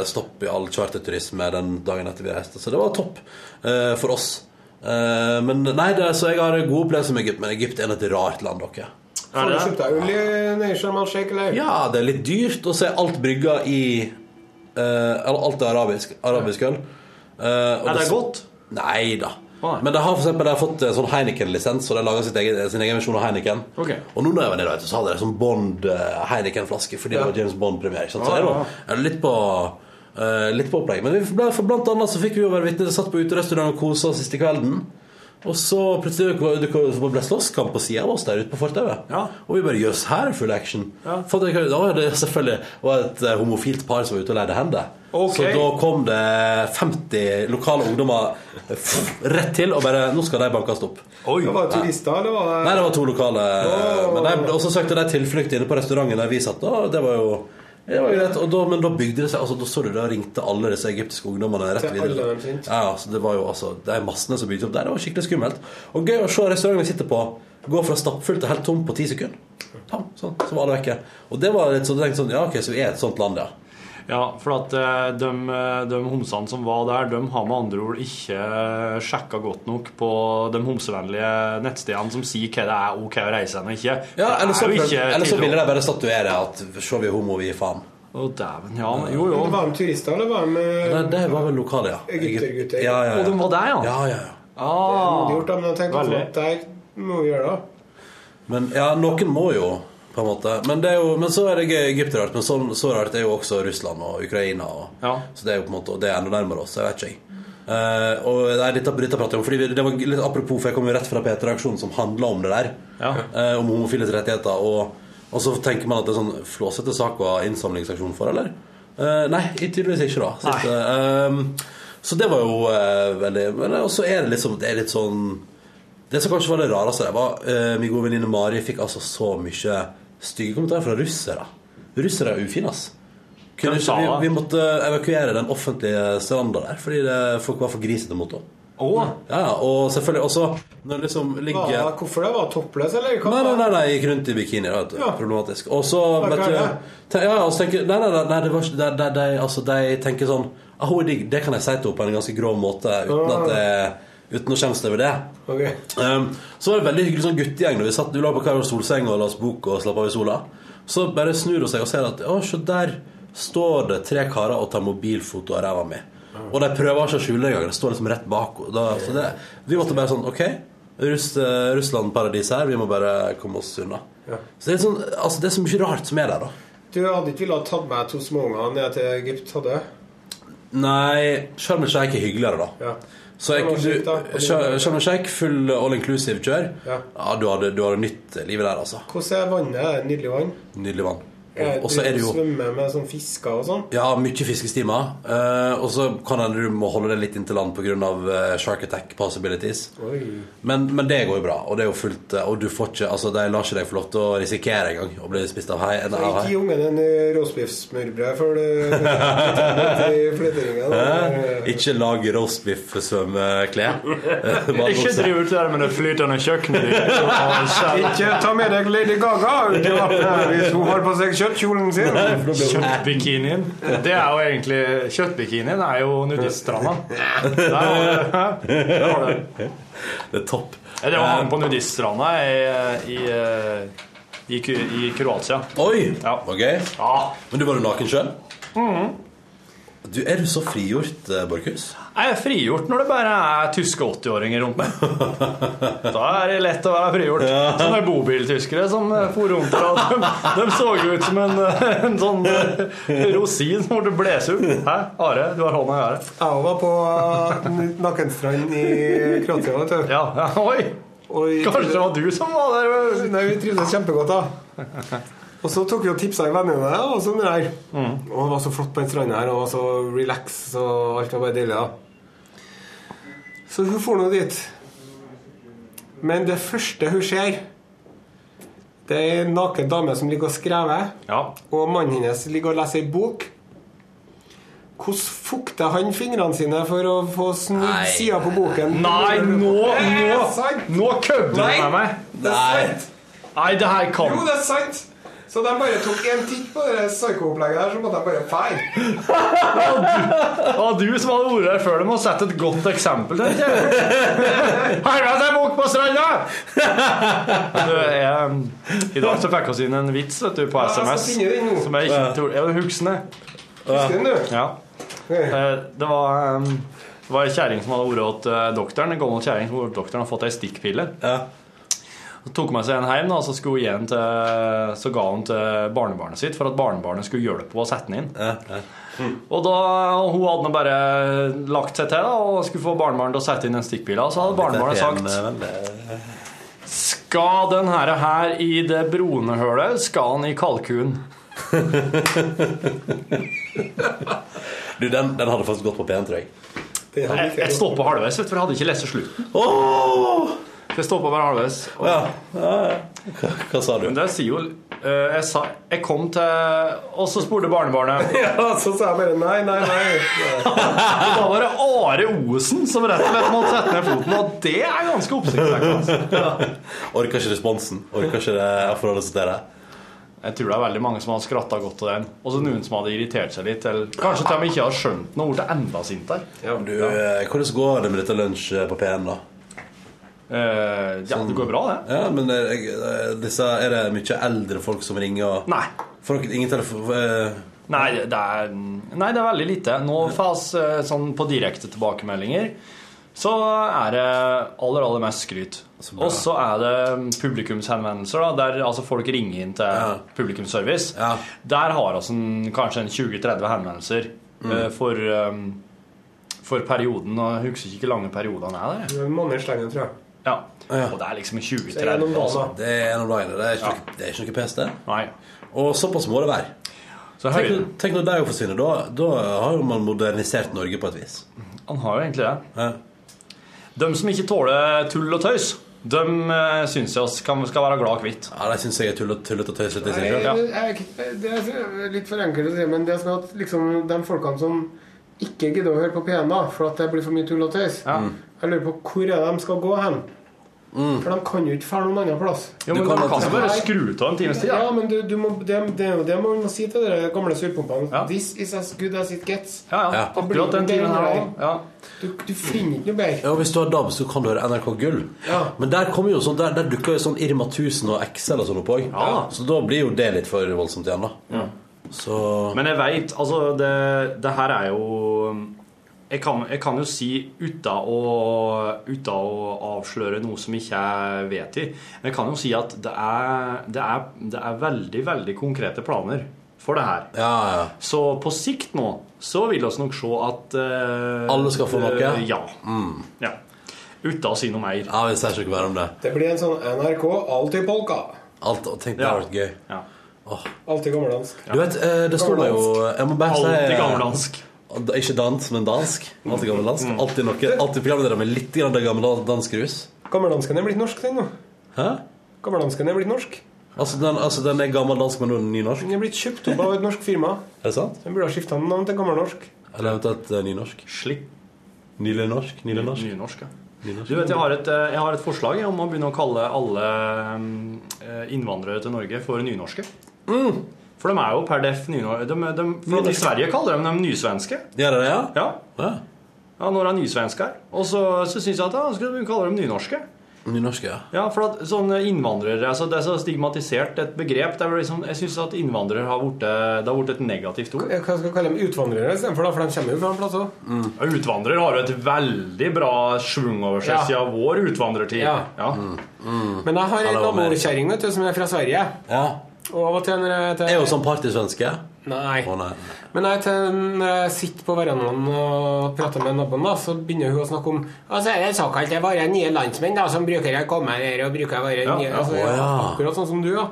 stopp i all charterturisme den dagen etter vi reiste. Så det var topp eh, for oss. Eh, men nei, det, så jeg har gode opplevelser med Egypt, men Egypt er et rart land, dere. Har du kjøpt deg øl i nei, Sharm el Sheikh, eller? Ja, det er litt dyrt, og så er alt brygga i eh, Eller alt er arabisk, arabisk øl. Eh, og Er det godt? Nei da. Å, nei. Men de har for eksempel, de har fått eh, sånn Heineken-lisens, og de lager sitt eget, sin egen versjon av Heineken. Ok. Og nå når jeg var nede, vet du, så hadde de sånn Bond-Heineken-flaske fordi det var James Bond-premiere. ikke sant? Så Ja, ja. jeg da, jeg er litt på eh, Litt på opplegg. Men vi ble, for blant annet så fikk vi jo være vitne til satt på uterestaurant og kosa oss siste kvelden. Og så plutselig dukka- dukka- så ble det slåsskamp på sida av oss der ute på fortauet. Ja. Og vi bare Jøss, her er full action. For det, da var det selvfølgelig var et eh, homofilt par som var ute og leide hender. Ok. Så da kom det 50 lokale ungdommer eh, f- rett til og bare Nå skal de bankes opp. Oi. Var det turister, eller var Nei, det var to lokale. Men de, og så søkte de tilflukt inne på restauranten der vi satt. Da. Det var jo det var jo greit. Og da, men da bygde det seg altså, Da så du, da ringte alle disse egyptiske ungdommene rett Til alle videre. dem sint. Ja, så det var jo altså De massene som bygde opp der, det var skikkelig skummelt. Og gøy å se restauranten vi sitter på, gå fra stappfullt til helt tomt på ti sekunder. Pam, sånn, så var alle vekke. Og det var litt sånn, jeg tenkte sånn Ja, ok, så vi er et sånt land, ja. Ja, for at eh, de, eh, de homsene som var der, de har med andre ord ikke eh, sjekka godt nok på de homsevennlige nettstedene som sier hva det er ok å reise hen og ikke. Ja, eller så, det er jo ikke eller så ville tilråd. de bare statuere at se, vi er homo, vi er faen. Å, dæven. Ja, men- jo, jo. det var de turister, eller var de eh, Nei, det var vel lokale, ja. Egyptergutter. Ja, ja, Og de ja. var der, ja? ja, ja, ja. Ah. gjort, da? Men jeg tenkte sånn at der må vi gjøre det. Men ja, noen må jo, på en måte. Men, det er jo, men så er det gøy Egypt er rart. Men så, så rart er jo også Russland og Ukraina. Og, Ja. Så det er jo på en måte, og det er enda nærmere oss. Jeg vet ikke, jeg. Eh, og nei, dette, dette prater jeg om, fordi vi- det var litt apropos, for jeg kom jo rett fra P3-aksjonen som handla om det der. Ja. Eh, om homofiles rettigheter. Og, og så tenker man at det er sånn flåsete sak å ha innsamlingsaksjon for, eller? Eh, nei, tydeligvis ikke, da. Siste. Ehm, så det var jo eh, veldig men, Og så er det liksom Det er litt sånn Det som kanskje var det rareste, det var uh, min gode venninne Mari fikk altså så mye stygge kommentarer fra russere. Russere er ufine, ass. Hvem Kunne ikke, sa vi, det? vi måtte evakuere den offentlige stranda der fordi det, folk var for grisete mot henne. Ja, og selvfølgelig også når det liksom ligger Hva- Hvorfor det? Var toppløs, eller? Hva- Nei, nei, nei, nei, jeg gikk rundt i bikini. det var et- Ja. Problematisk. Og så Ja, vet hva er du, det? te, ja, og så tenker, Nei, nei, nei, nei det var, ikke- de, de, de, altså, de tenker sånn ah, Hun er digg. Det kan jeg si til henne på en ganske grov måte uten Ah. at jeg, uten å skjemmes over det. Ok. Ehm, så var det veldig hyggelig sånn guttegjeng. da Vi satt vi lå på hver vår solseng og las bok og slapp av i sola. Så bare snur hun seg og ser at Å, se der står det tre karer og tar mobilfoto av ræva mi. Og de prøver ikke å skjule det engang. Det står liksom rett bak henne. Da- så det- Vi måtte bare sånn OK, Russ, eh, Russland-paradiset her. Vi må bare komme oss unna. Så det er, sånn, altså, det er så mye rart som er der, da. Du hadde ikke villet tatt med to småunger ned til Egypt, hadde du? Nei, Sharm el Sheikh er hyggeligere, da. Ja. Så jeg, Sharm el Sheikh, da? du, Shar- Sharm el Sheikh, full all inclusive-kjør. Ja. Ja, du hadde, du hadde nytt livet der, altså. Hvordan er vannet? Er det Nydelig vann? Nydelig vann. Eh, Er Og- Og så er du det jo Svømmer med sånn fisker og sånn? ja, mye fiskestimer. eh, og så kan hende du må holde deg litt inn til land pga. Uh, shark attack possibilities. Oi. Men, men det går jo bra, og det er jo fullt eh, Og du får ikke, altså, de lar ikke deg få lov til å risikere engang å bli spist av hai. En, Så av ikke hai. gi ungen en eh, roastbiff-smørbrød før du i flytteringen. Hæ? Ikke lag eh, roastbiff-svømmeklær. Ikke driv ut der med det flytende kjøkkenet ditt. Ikke ta med deg Lady Gaga ut i vannet hvis hun har på seg kjøttkjolen sin. Kjøttbikinien. Det er jo egentlig Kjøttbikinien er jo nudiststranda. Der var det. Der var det. Det er topp. Jeg drev og hang på nudiststranda i, i, eh, i, Ku- i Kroatia. Oi! Ja. Mm. Var gøy. Ja. Men du var jo naken sjøl? Du, er du så frigjort, eh, Borchhus? Jeg er frigjort når det bare er tyske 80-åringer rundt meg. Da er det lett å være frigjort. Sånne bobiltyskere som eh, for rundt her, og de, de så jo ut som en, eh, en sånn eh, rosin som ble blåst ut. Hæ? Are, du har hånda i været. Jeg var på Nakkenstrand i Kroatia, vet du. Ja. ja, Oi! Og vi Kanskje det var du som var der? eh, Nei, vi trivdes kjempegodt, da. Og så tok vi og tipsa en venninne, og sånn det der. Og Mm. det var så flott på den stranda her, og det var så relax, og alt var bare deilig, da. Så hun for nå dit. Men det første hun ser, det er en naken dame som ligger og skrever, Ja. og mannen hennes ligger og leser ei bok. Hvordan fukter han fingrene sine for å få Nei. snudd sida på boken? Nei, nå Det er Nå, sant! nå kødder du Nei. med meg! Det er sant! Nei, det her kan Jo, det er sant! Så de bare tok en titt på det psyko-opplegget der, så måtte de bare feire. Ja, du som hadde vært her før dem og sett et godt eksempel. tenkte jeg. Herre, det er bok på stranda! Du, jeg, I dag så fikk vi inn en vits vet du, på jeg skal SMS. finne den nå. Som jeg ikke tror Jeg husker den. jeg. Husker du? Ja. Eh, Det var em, det var ei kjerring som hadde vært hos eh, doktoren. En gammel kjerring som hadde vært hos doktoren og fått ei stikkpille. Ja. Så tok hun med seg en hjem, da, og så, skulle hun gi den til, så ga hun til barnebarnet sitt for at barnebarnet skulle hjelpe henne å sette den inn. Og da, og hun hadde nå bare lagt seg til da, og skulle få barnebarnet til å sette inn den stikkpila. Og så hadde barnebarnet sagt eh, Skal den her, her i det bronehølet, skal den i kalkun. Du, den, den hadde faktisk gått på P1, tror jeg. Det hadde Jeg, ikke jeg jeg stoppa halvveis, vet du, for jeg hadde ikke lest slutten. Åh! Jeg stoppet bare halvveis. Og Ja. ja, ja. Hva, hva sa du? det sier jo eh, jeg, sa, jeg kom til Og så spurte barnebarnet ja, Så sa jeg bare nei, nei, nei. Og da var det Are Osen som rett og slett måtte sette ned foten, og det er ganske oppsiktsvekkende. altså. Orker ikke responsen. Orker ikke det å forholde seg til det. Jeg tror det er veldig mange som har skratta godt av den, og så noen som hadde irritert seg litt, eller kanskje til og med ikke har skjønt noe og blitt enda sintere. Du, eh, Hvordan går det med dette lunsj eh, på P1, da? Eh, ja, det går bra, det. Ja, men eh, jeg, eh, disse, Er det mye eldre folk som ringer? og- Nei. Folk, ingen telefon... eh, Nei, det er, nei, det er veldig lite. Nå fas eh, sånn på direkte tilbakemeldinger så er det aller, aller mest skryt. bra. Og så er det publikumshenvendelser, da, der altså folk ringer inn til Ja. publikumsservice. Ja. Der har vi en- kanskje en 20-30 henvendelser Mm. eh, for, um, for perioden. Og jeg husker ikke hvor lange periodene er der. jeg. Det var Manneslengen, tror jeg. Ja. Ja. Og det er liksom Det er 20-30. gjennom dagen, Altså. da. Det er en om dagen. Det er ikke, noe- det er ikke noe pes, det. Nei. Og såpass må det være. Så Tenk, høyden. tenk når de jo forsvinner. Da, da har jo man modernisert Norge på et vis. Han har jo egentlig det. De som ikke tåler tull og tøys, de eh, syns jeg oss kan, skal være glad kvitt. Ja, De syns jeg er tull- tullete og tøysete i seg Nei, sjøl. jeg- jeg- Det er litt for enkelt å si, men det er sånn at liksom, de folkene som ikke gidder å høre på P1, da, for at det blir for mye tull og tøys Jeg lurer på hvor er det de skal gå hen. For de kan jo ikke dra noen annen plass. Jo, men kan de kan alltid- jo bare skru av en times tid. Ja, da. men du, du må, det, det er jo det man må si til de gamle surpumpene. Ja. This is as good as it gets. Ja, ja. Ja. Akkurat den timen her òg. Ja. Du, du finner ikke noe bedre. Ja, og Hvis du har DAB, så kan du høre NRK Gull. Ja. Men der kommer jo sånn, der, der dukker jo sånn Irma 1000 og Excel og sånn opp òg. Ja. Så da blir jo det litt for voldsomt igjen, da. Så Men jeg veit Altså, det, det her er jo jeg kan, jeg kan jo si uten å, uten å avsløre noe som ikke jeg vet i Men jeg kan jo si at det er, det er, det er veldig, veldig konkrete planer for det her. ja, ja. Så på sikt nå så vil oss nok se at eh, Alle skal få noe? Mm. eh, ja. ja. Uten å si noe mer. ja vi sier ikke mer om det. Det blir en sånn NRK alltid polka. Alt, tenk, det Ja. har vært gøy. Ja. Alltid gammeldansk. Du vet, eh, det står meg jo Jeg må bare si eh, Alltid gammeldansk. Ikke dansk, men dansk. Alltid gammeldansk. Mm. Alltid noe Alltid programleder med litt grann det gamle dansk rus. Gammeldansken er blitt norsk, den nå. Hæ? Gammeldansken er blitt norsk. Altså den, altså, den er gammel dansk, men nå er den nynorsk? Den er blitt kjøpt opp av et norsk firma. Er det sant? Den burde ha skifta navn til gammelnorsk. Eller eventuelt eh, nynorsk? Slipp Nylenorsk? Nylenorsk? Nynorsk, ja. Du vet, jeg har, et, eh, jeg har et forslag om å begynne å kalle alle mm, eh, innvandrere til Norge for nynorske. Mm. For de er jo per def nynorske. De, de, for at I Sverige kaller de dem nysvenske. Gjør det det, ja? Ja, ja. ja når de er nysvensker. Og så, så syns jeg at ja, skal vi kalle dem nynorske. Nynorsk, ja. Ja, for at sånne innvandrere altså Det er så stigmatisert et begrep. Det er vel liksom, jeg syns at innvandrere har blitt det har blitt et negativt ord. Hva skal jeg kalle dem? Utvandrere istedenfor, da, for de kommer jo fra en plass òg. Ja, Utvandrer har jo et veldig bra svung over seg Ja. siden vår utvandrertid. Ja. Mm. Men jeg har ei Hallo, Amerika. nabokjerring vet du, som er fra Sverige. ja. Og av og til når jeg Er jo sånn partysvenske. Nei. Å nei. Men jeg, til, når jeg sitter på verandaen og prater med naboen, da, så begynner hun å snakke om altså, Og så er det såkalte våre nye landsmenn da, som bruker å komme her og bruker våre Ja, nye ja. altså, Å, ja. Akkurat sånn som du, ja.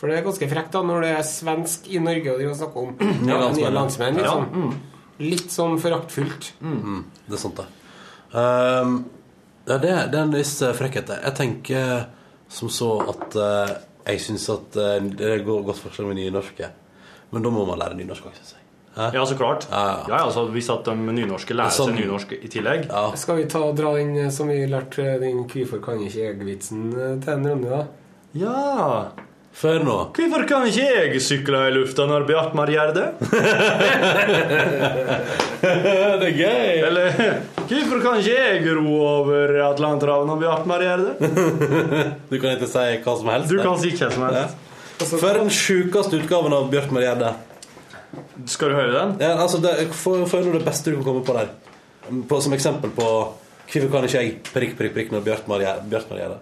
For det er ganske frekt da når det er svensk i Norge og de snakker om ja, nye landsmenn, ja. landsmenn. Liksom. Litt sånn foraktfullt. Det er sant, det. Ehm, ja, det, det er en viss eh, frekkhet der. Jeg tenker som så at eh, jeg syns at eh, det er et go- godt forslag med nynorske. Men da må man lære nynorsk òg, syns jeg. Hæ? Ja, så klart. Ja, ja. Ja, altså, hvis at de nynorske lærer Sånn. seg nynorsk i tillegg. Skal vi ta og dra den eh, som vi lærte eh, den kvifor kan ikke jeg-vitsen eh, til en runde, da? Ja Før nå. Hvorfor kan ikke jeg sykle i lufta når Bjartmar gjør det? det er gøy! Eller hvorfor kan ikke jeg ro over Atlanterhavet når Bjartmar gjør det? Du kan ikke si hva som helst. Du det. kan si hva som helst. For den sjukeste utgaven av Bjørtmar Gjerde. Skal du høre den? Ja, altså, det er- få få høre det beste du kan komme på der. På, som eksempel på Hvorfor kan ikke jeg prikk, prikk, prikk når Bjørtmar Gjerde- Bjørtmar Gjerde?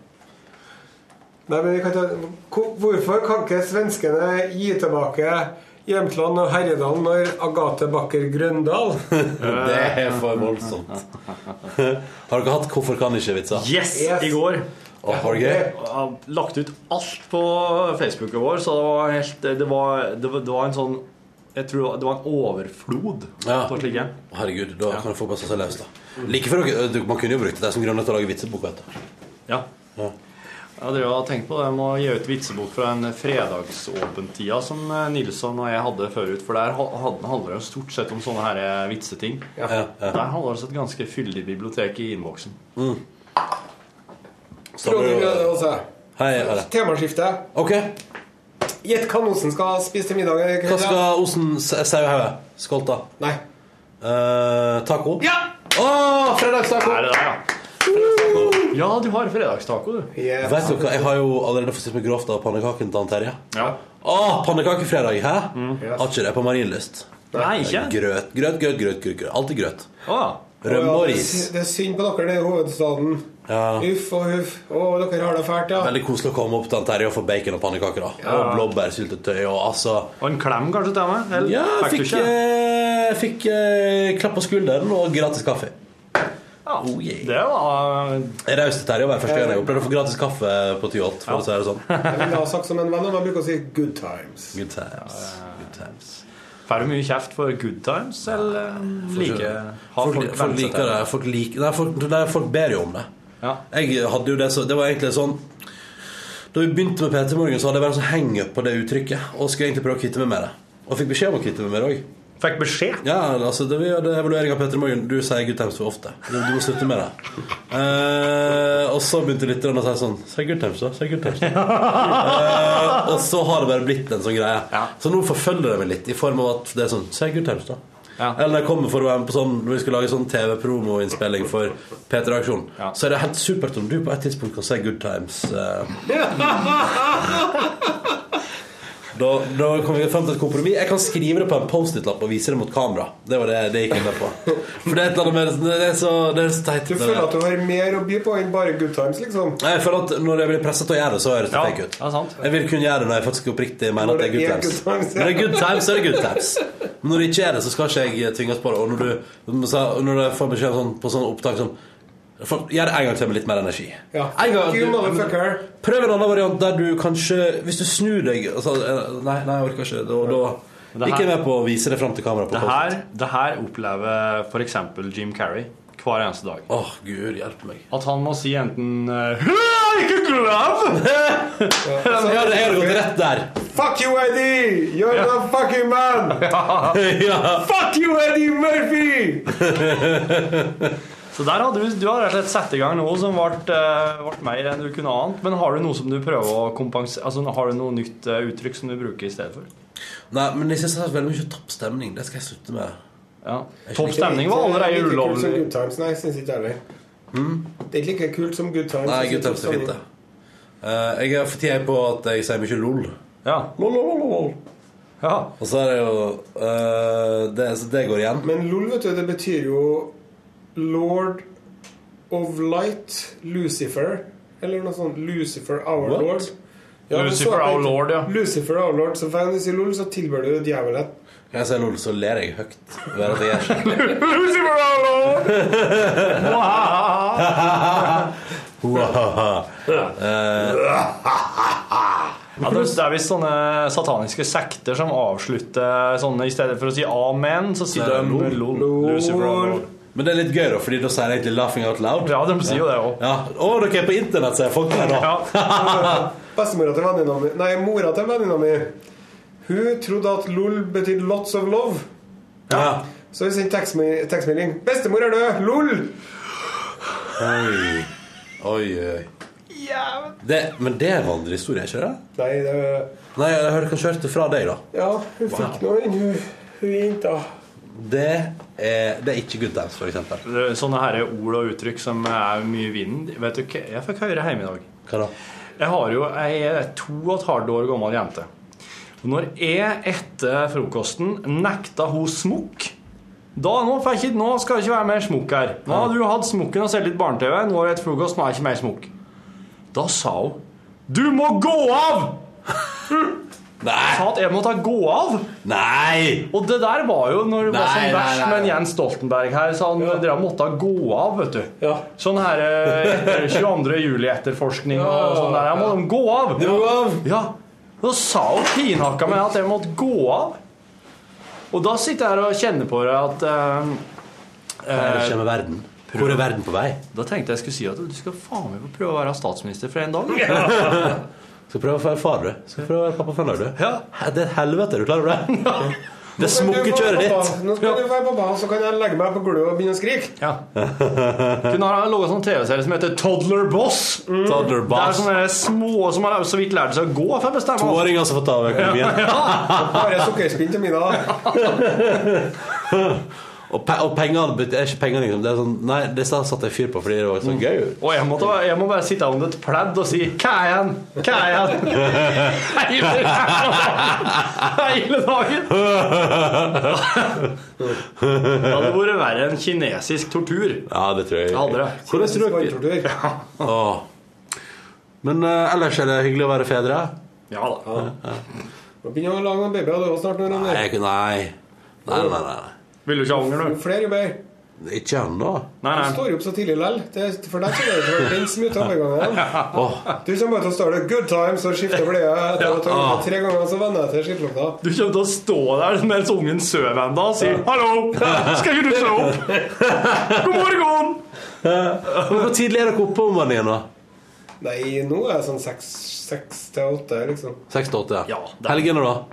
Nei, men vi kan ta Ko- Hvorfor kan ikke svenskene gi tilbake Jämtland og Herjedalen når Agathe Bakker Grøndal Det er for voldsomt. Har dere hatt 'Hvorfor kan ikke?'-vitser? Yes! Yes. I går. Å, var det gøy? Jeg har lagt ut alt på Facebooken vår, så det var helt Det var, det var, det var en sånn Jeg tror det var en overflod Ja. på slike. Herregud, da kan jeg få passe seg løs, da. Like før dere, du- Man kunne jo brukt det som grunnlag til å lage vitsebok, vet du. Ja. Ja. Jeg drev og tenkte på det med å gi ut vitsebok fra den fredagsåpentida som eh, Nilsson og jeg hadde forut. For der ha- hadde- handler det jo stort sett om sånne her eh, vitseting. Ja, ja. Der handler det om et ganske fyldig bibliotek i innboksen. Så da blir det jo- Hei, Are. altså, Temaskifte. Ok, Gjett hva Osen skal spise til middag. i kveld, hva da? skal eh, Osen sa- sauehauge? Skolta? Nei. Eh, taco? Ja! Å, fredagstaco! Er det der, ja? Ja, du har fredagstaco, du. Yeah. Vet du hva, jeg har jo allerede fått spist meg grovt av pannekakene til han Terje. Ja. Å, pannekakefredag, hæ? Har ikke det på Marienlyst. Nei, ikke? Grøt, grøt, grøt, grøt. grøt, grøt. Alltid grøt. Å, Rømme og Det er ris. sy- Det er synd på dere, det er hovedstaden. Ja. Uff og huff. Å, dere har det fælt, ja. Veldig koselig å komme opp til han Terje og få bacon og pannekaker. da Og blåbærsyltetøy og altså Og en klem kanskje til meg? Eller Ja, fikk du fikk, ikke? eh, fikk eh, klapp på skulderen og gratis kaffe. Ja. Oh, yeah. Det var Jeg rauste Terje og var første gang jeg opplevde å få gratis kaffe på Tyholt. For å si det sånn. Jeg ville ha sagt som en venn, men jeg bruker å si good times. Good times. Good times. Får du mye kjeft for good times, eller eh, Folk- like har folk, vennet folk, seg liker til det. Folk, liker, nei, folk, nei, folk ber jo om det. Jeg hadde jo det så Det var egentlig sånn Da vi begynte med PT Morgen, så hadde jeg bare en sånn hang-up på det uttrykket. Og skulle egentlig prøve å kvitte meg med det. Og fikk beskjed om å kvitte meg med det òg. Fikk beskjed? Ja, altså det Vi hadde evaluering av Petter Morgen. Du sier good times for ofte. Du, du må slutte med det. Eh, og så begynte lytterne å si sånn Si good times, da. Si good times. da." Eh, og så har det bare blitt en sånn greie. Så nå forfølger det meg litt, i form av at det er sånn Si good times, da. Eller når jeg kommer for å være med på sånn Når vi skal lage sånn TV-promoinnspilling for P3-aksjonen, så er det helt supert om du på et tidspunkt kan si good times. eh, da, da kom vi frem til et kompromiss. Jeg kan skrive det på en Post-It-lapp og vise det mot kamera. Det var det det gikk jeg med på. For det er et eller annet med Det er så, det er så teit. Du føler at du har mer å by på enn bare good times, liksom? Nei, jeg føler at når jeg blir presset til å gjøre det, så høres det Ja, fake ut. Jeg vil kun gjøre det når jeg faktisk oppriktig mener at det er good times. Når det er good times, så er det good times. Men når det ikke er det, så skal ikke jeg tvinges på det. Og når du, så- når jeg får beskjed sånn, på sånne opptak sånn folk- Gjør det en gang til med litt mer energi. Ja. En gang, You du- motherfucker. Prøv en annen variant der du kanskje Hvis du snur deg altså, eh, Nei, nei, jeg orker ikke. Da, da Det her- Ikke vær med på å vise det fram til kamera. På Det her, det her opplever f.eks. Jim Carrey hver eneste dag. Åh, Gud, hjelp meg At han må si enten eh, «Hurra, Ikke glem! Ja, det har gått rett der. Fuck you, Eddie! You're ja. the fucking man! Ja. Fuck you, Eddie Murphy! Så der hadde vi, Du har rett og slett satt i gang noe som ble, eh, ble mer enn du kunne ant. Men har du noe som du prøver å kompensere Altså, har du noe nytt eh, uttrykk som du bruker i stedet for? Nei, men jeg synes det er veldig mye topp stemning. Det skal jeg slutte med. Ja. Jeg Topp skjønner stemning ikke- var allerede Like kult som ulovlig. good times, nei, synes ikke heller. Mm. Det er ikke like kult som good times. Nei, jeg synes sånn- Good Times er også. fint, det. Eh, jeg er for tida på at jeg sier mye lol. Ja. Lol, lol, lol, lol. Ja. Og så er det jo eh, det, så det går igjen. Men lol, vet du, det betyr jo Lord of Light, Lucifer, eller noe sånt. Lucifer Our What? Lord. men Lucifer, så- our lord, ja. Lucifer Our Lord. Så for å si lol, så tilber du djevelen. Når jeg sier lol, så ler jeg høyt. Bare at jeg gjør sånn. Lucifer, our lord! Ja, det det er visst sånne sataniske sekter som avslutter sånne I stedet for å si amen, så sier Nei, de lol. lol. Lucifer, our lord. Men det er litt gøy, da, fordi da sier jeg egentlig 'laughing out loud'. Ja, de sier jo det òg. Ja. Å, dere er på internett, sier folk der nå. Bestemora til venninna mi Nei, mora til venninna mi Hun trodde at lol betydde lots of love. Ja. Så vi sendte tekstme- tekstmelding. 'Bestemor er død! Lol!' Oi, oi, oi. Det, men det er en vanlig historie, ikke det? Nei, det Nei, jeg hørte kanskje hørte fra deg, da. Ja, hun fikk noe, hun, hun jenta. Det er, det er ikke good times, for eksempel. Det er Sånne her ord og uttrykk som er mye i vinden. Vet du hva jeg fikk høre hjemme i dag? Hva da? Jeg har jo ei to og et halvt år gammel jente. Og Når jeg etter frokosten nekta hun smokk da, nå, får jeg ikke, nå skal det ikke være mer smokk her. Nå har du hatt smokken og sett litt barne-TV. Nå er det et frokost, nå er det ikke mer smokk. Da sa hun Du må gå av! Nei. Sa at jeg måtte gå av. Nei! Og det der var jo når det var Nei, som nei, verst nei. med en Jens Stoltenberg her. Så han dere måtte gå av, vet du. Ja. Sånn her eh, etter 22. juli-etterforskning og sånn der. Jeg må de gå av! Du må gå av! Ja. Da sa hun pinhakka meg at jeg måtte gå av. Og da sitter jeg her og kjenner på det at eh, Hva er det som skjer med verden? Hvor er verden på vei? Da tenkte jeg skulle si at du skal faen meg få prøve å være statsminister for en dag. Skal prøve å være far, du. Skal prøve å være pappa for en dag, du. Ja. Det er et helvete, er du klar over det? Det smukkekjøret ditt. Nå skal du være pappa, så kan jeg legge meg på gulvet og begynne å skrike. Ja. Kunne ha laga sånn TV-serie som heter Toddler Boss. Det Toddler er boss. sånne små som har så vidt lært seg å gå. For jeg bestemmer alt. Åringer som får ta av økonomien. Bare sukkerspinn til middag. da. Og, pe og pengene bet- er ikke penger, liksom. Det er sånn, nei, det satte jeg fyr på fordi det var så Mm. gøy. Og jeg, måtte, jeg må bare sitte under et pledd og si Hva er han? Hva er han? Hele dagen. Hele dagen. Det hadde vært verre enn kinesisk tortur. Ja, det tror jeg. Det hadde det. Hvordan tror dere Tortur. Åh. Men eh, ellers er det hyggelig å være fedre. Ja da. Nå begynner å lage noen babyer, du òg snart. Når Nei, jeg, nei. Nei, nei, nei. nei. Vil du ikke ha unger, Jo du? flere, jo bedre. Ikke ennå. Nei, Du står opp så tidlig lell, Det- for deg skulle det vært den smoothie overgangen. Du kommer bare til å stå der 'good times' og skifte bleie etter å ha tatt tre ganger, så vender jeg til skittlukta. Du kommer til å stå der mens ungen sover ennå og si 'hallo, skal ikke du slå opp?' 'God morgen!' Men hvor tidlig er dere oppe om morgenen igjen, da? Nei, nå er jeg sånn seks seks til åtte, liksom. Seks til åtte? Ja, det er- Helgene, da?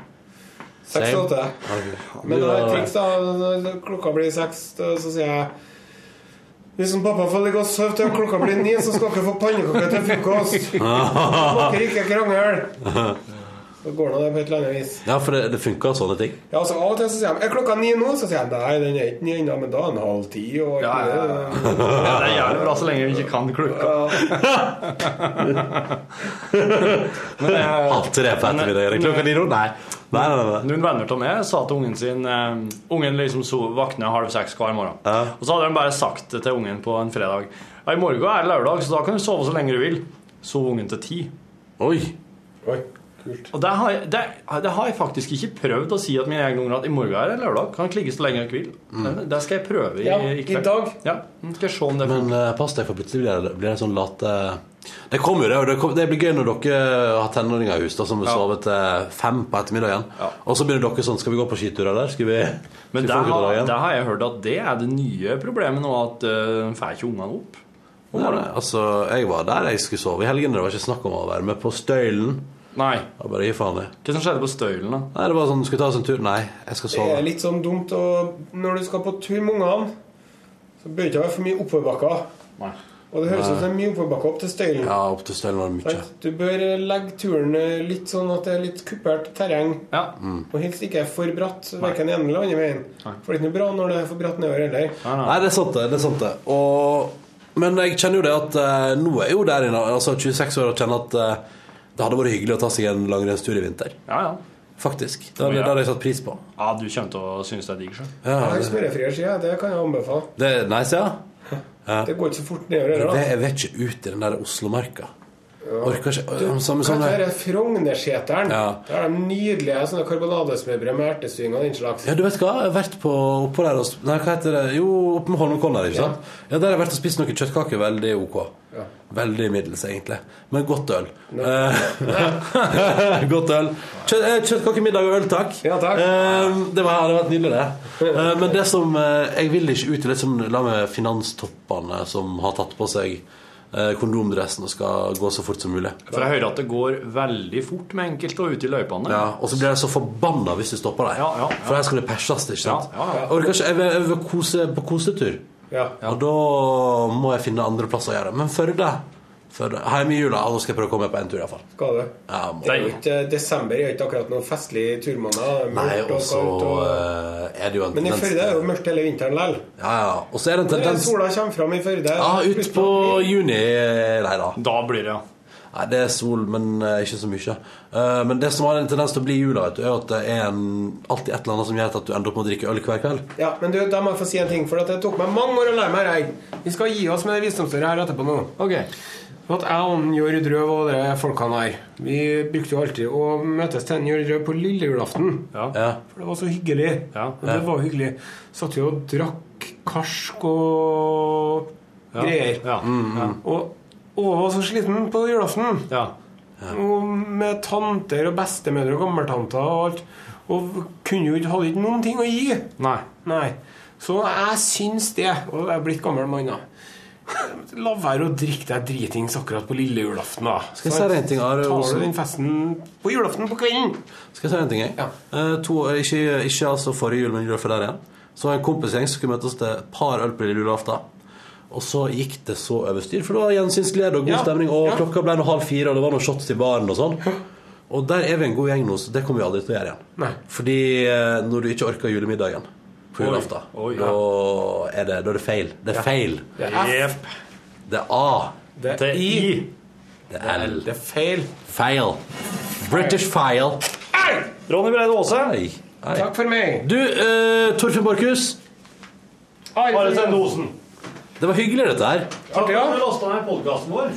Seks til Same. åtte. Men det er et triks, da. Når klokka blir seks, da- så sier jeg hvis som pappa får ligge og sove til klokka blir ni, så skal dere få pannekaker til frokost. Dere ikke krangle. Så går nå det på et eller annet vis. Ja, for det, det funker sånne ting. Ja, altså Av og til så sier de er klokka ni nå, så sier jeg nei, den er ikke ni ennå, men da er den halv ti. Og alt Ja, ja, mulig. Ja, det er jævlig bra så lenge vi ikke kan klukka. Men eh, Halv tre på ettermiddagen. Klokka ni nå? Nei. Nei, nei, nei. Noen venner av meg sa til ungen sin eh, Ungen liksom so- våkner halv seks hver morgen. Og så hadde de bare sagt det til ungen på en fredag. Ja, I morgen er det lørdag, så da kan du sove så lenge du vil. Sov ungen til ti. Oi. Oi, kult. Og det har, jeg, det, det har jeg faktisk ikke prøvd å si at mine egne unger at i morgen er det lørdag. Kan ligge så lenge dere vil. Det- Det skal jeg prøve i, Ja, i kveld. i dag. Ja, mm, skal jeg se om det Men eh, pass deg, for plutselig blir det, blir det sånn late Det kommer jo, det. og Det, kom, det blir gøy når dere har tenåringer i hus da, som vil Ja. sove til fem på ettermiddagen. Ja. Og så begynner dere sånn Skal vi gå på skitur, eller? Skal vi skal Men der vi få har, guttedagen? der har jeg hørt at det er det nye problemet nå, at uh, får ikke ungene opp. om Nei, morgenen. nei, altså, jeg var der jeg skulle sove i helgene. Det var ikke snakk om å være med på Støylen. Nei. Jeg bare gi faen i. Hva som skjedde på Støylen, da? Nei, det var sånn Skal vi ta oss en tur? Nei, jeg skal Det sove. er litt sånn dumt å, når du skal på tur med ungene, så bør det ikke være for mye oppoverbakker. Nei. Og det høres ut som det er mye oppoverbakker opp til støylen. Ja, opp til Støylen var det mye. Sant? Du bør legge turen litt sånn at det er litt kuppert terreng, Ja. Mm. og helst ikke for bratt verken ene eller andre veien. For det er ikke noe bra når det er for bratt nedover heller. Nei, det er sant, det. det, er sant det. Og, men jeg kjenner jo det at eh, nå er jeg jo der inne, altså 26 år, og kjenner at eh, det hadde vært hyggelig å ta seg en langrennstur i vinter. ja, ja. Faktisk. Det hadde, Ja. det hadde jeg satt pris på. Ja, du kommer til å synes det er digg sjøl. Ja, Jeg har det, smørefrie skier, det kan jeg anbefale. det er nice, ja. Det går ikke så fort nedover Jeg heller, da. vet- jeg vet ikke ut i den der Oslomarka. Orker ikke øh, samme, Hva samme. heter det? Frognerseteren. Ja. Der er de nydelige sånne karbonadesmørbrød med ertestuing og den slags. Ja, du vet hva? Jeg har vært på, oppå der og sp- Nei, hva heter det? Jo, oppe med Holmenkollen der, ikke sant? Ja. der har jeg vært og spist noen kjøttkaker. Veldig ok. Veldig middels, egentlig. Men godt øl. Eh, godt øl. Kjø eh, kjøttkakemiddag og øl, takk. Ja, takk. Eh, det var, det var nydelig, det. Eh, men det som eh, Jeg vil ikke ut i det som La med finanstoppene som har tatt på seg eh, kondomdressen og skal gå så fort som mulig. For jeg hører at det går veldig fort med enkelte og ute i løypene. Ja, og så blir jeg så forbanna hvis du stopper deg. Ja, ja, ja. For her skal det perses, ikke sant? Ja, ja, ja. Jeg Orker ikke, jeg vil, jeg vil kose på kosetur. Ja. Og da må jeg finne andre plasser å gjøre det. Men Førde Førde. Hjemme i jula. Ja, nå skal jeg prøve å komme meg på en tur, iallfall. Skal du? Ja, må- Det er jo ikke, eh, desember er jo ikke akkurat noen festlig turmåned. Det er mørkt Nei, og og så kaldt og eh, er det jo en Men i Førde er det jo mørkt hele vinteren likevel. Ja, ja. Og så er det en Når tendens sola kommer fram i Førde Ja, ut på juni Nei da. Da blir det, ja. Nei, det er sol, men eh, ikke så mye. Eh, men det som har en tendens til å bli jula, vet du, er at det er en, alltid et eller annet som gjør at du ender opp med å drikke øl hver kveld. Ja, men du, da må jeg få si en ting, for at det tok meg mange år å lære meg regn. Vi skal gi oss med det visdomsåret her etterpå nå. Ok. For at jeg og Jørg Røv og de folkene her, vi brukte jo alltid å møtes til en Jørg Røv på lille julaften. Ja. Ja. For det var så hyggelig. Ja. Og det var hyggelig. Satt jo og drakk karsk og greier. Mm, Ja. ja. Og, og var så sliten på julaften. ja. Og med tanter og bestemødre og gammeltanter og alt. Og kunne jo ikke, hadde ikke noen ting å gi. Nei. Nei. Så jeg syns det, og jeg er blitt gammel mann, da. La være å drikke deg dritings akkurat på lille julaften, da. Skal jeg si deg en ting, Are Tar Olsen? du den festen på julaften på kvelden? Skal jeg si en ting, jeg? Ja. Eh, to, ikke, ikke altså forrige jul, men jula før der igjen. Så var jeg en kompisgjeng som skulle møtes til et par øl på lille julaften. Og så gikk det så over styr, for det var gjensynsglede og god Ja. stemning. Og Ja. klokka ble nå halv fire, og det var noen shots i baren og sånn. Og der er vi en god gjeng nå, så det kommer vi aldri til å gjøre igjen. Nei. Fordi eh, når du ikke orker julemiddagen på julaften, Oi, ja. da er det, da er det feil. Det er feil. Det er F, Jepp. Det er A. det Det er er I, I. Det er L. det er feil. Feil. British fail. Ronny Breide Aase. Nei. Nei. Takk for meg. Du, eh, Torfinn Borchhus. Are Sendosen. Det var hyggelig, dette her. Takk ja. for at du lasta ned podkasten vår.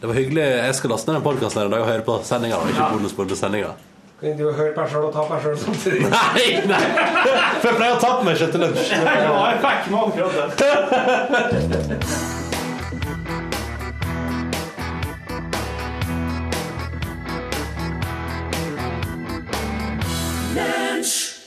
Det var hyggelig. Jeg skal laste ned den podkasten i dag og høre på sendinga. Ikke bonusbord på sendinga. Kan du høre på deg sjøl og ta på deg sjøl samtidig? Nei, nei! For jeg pleier å tappe meg selv til lunsj. Jeg fikk med akkurat det. Lunsj!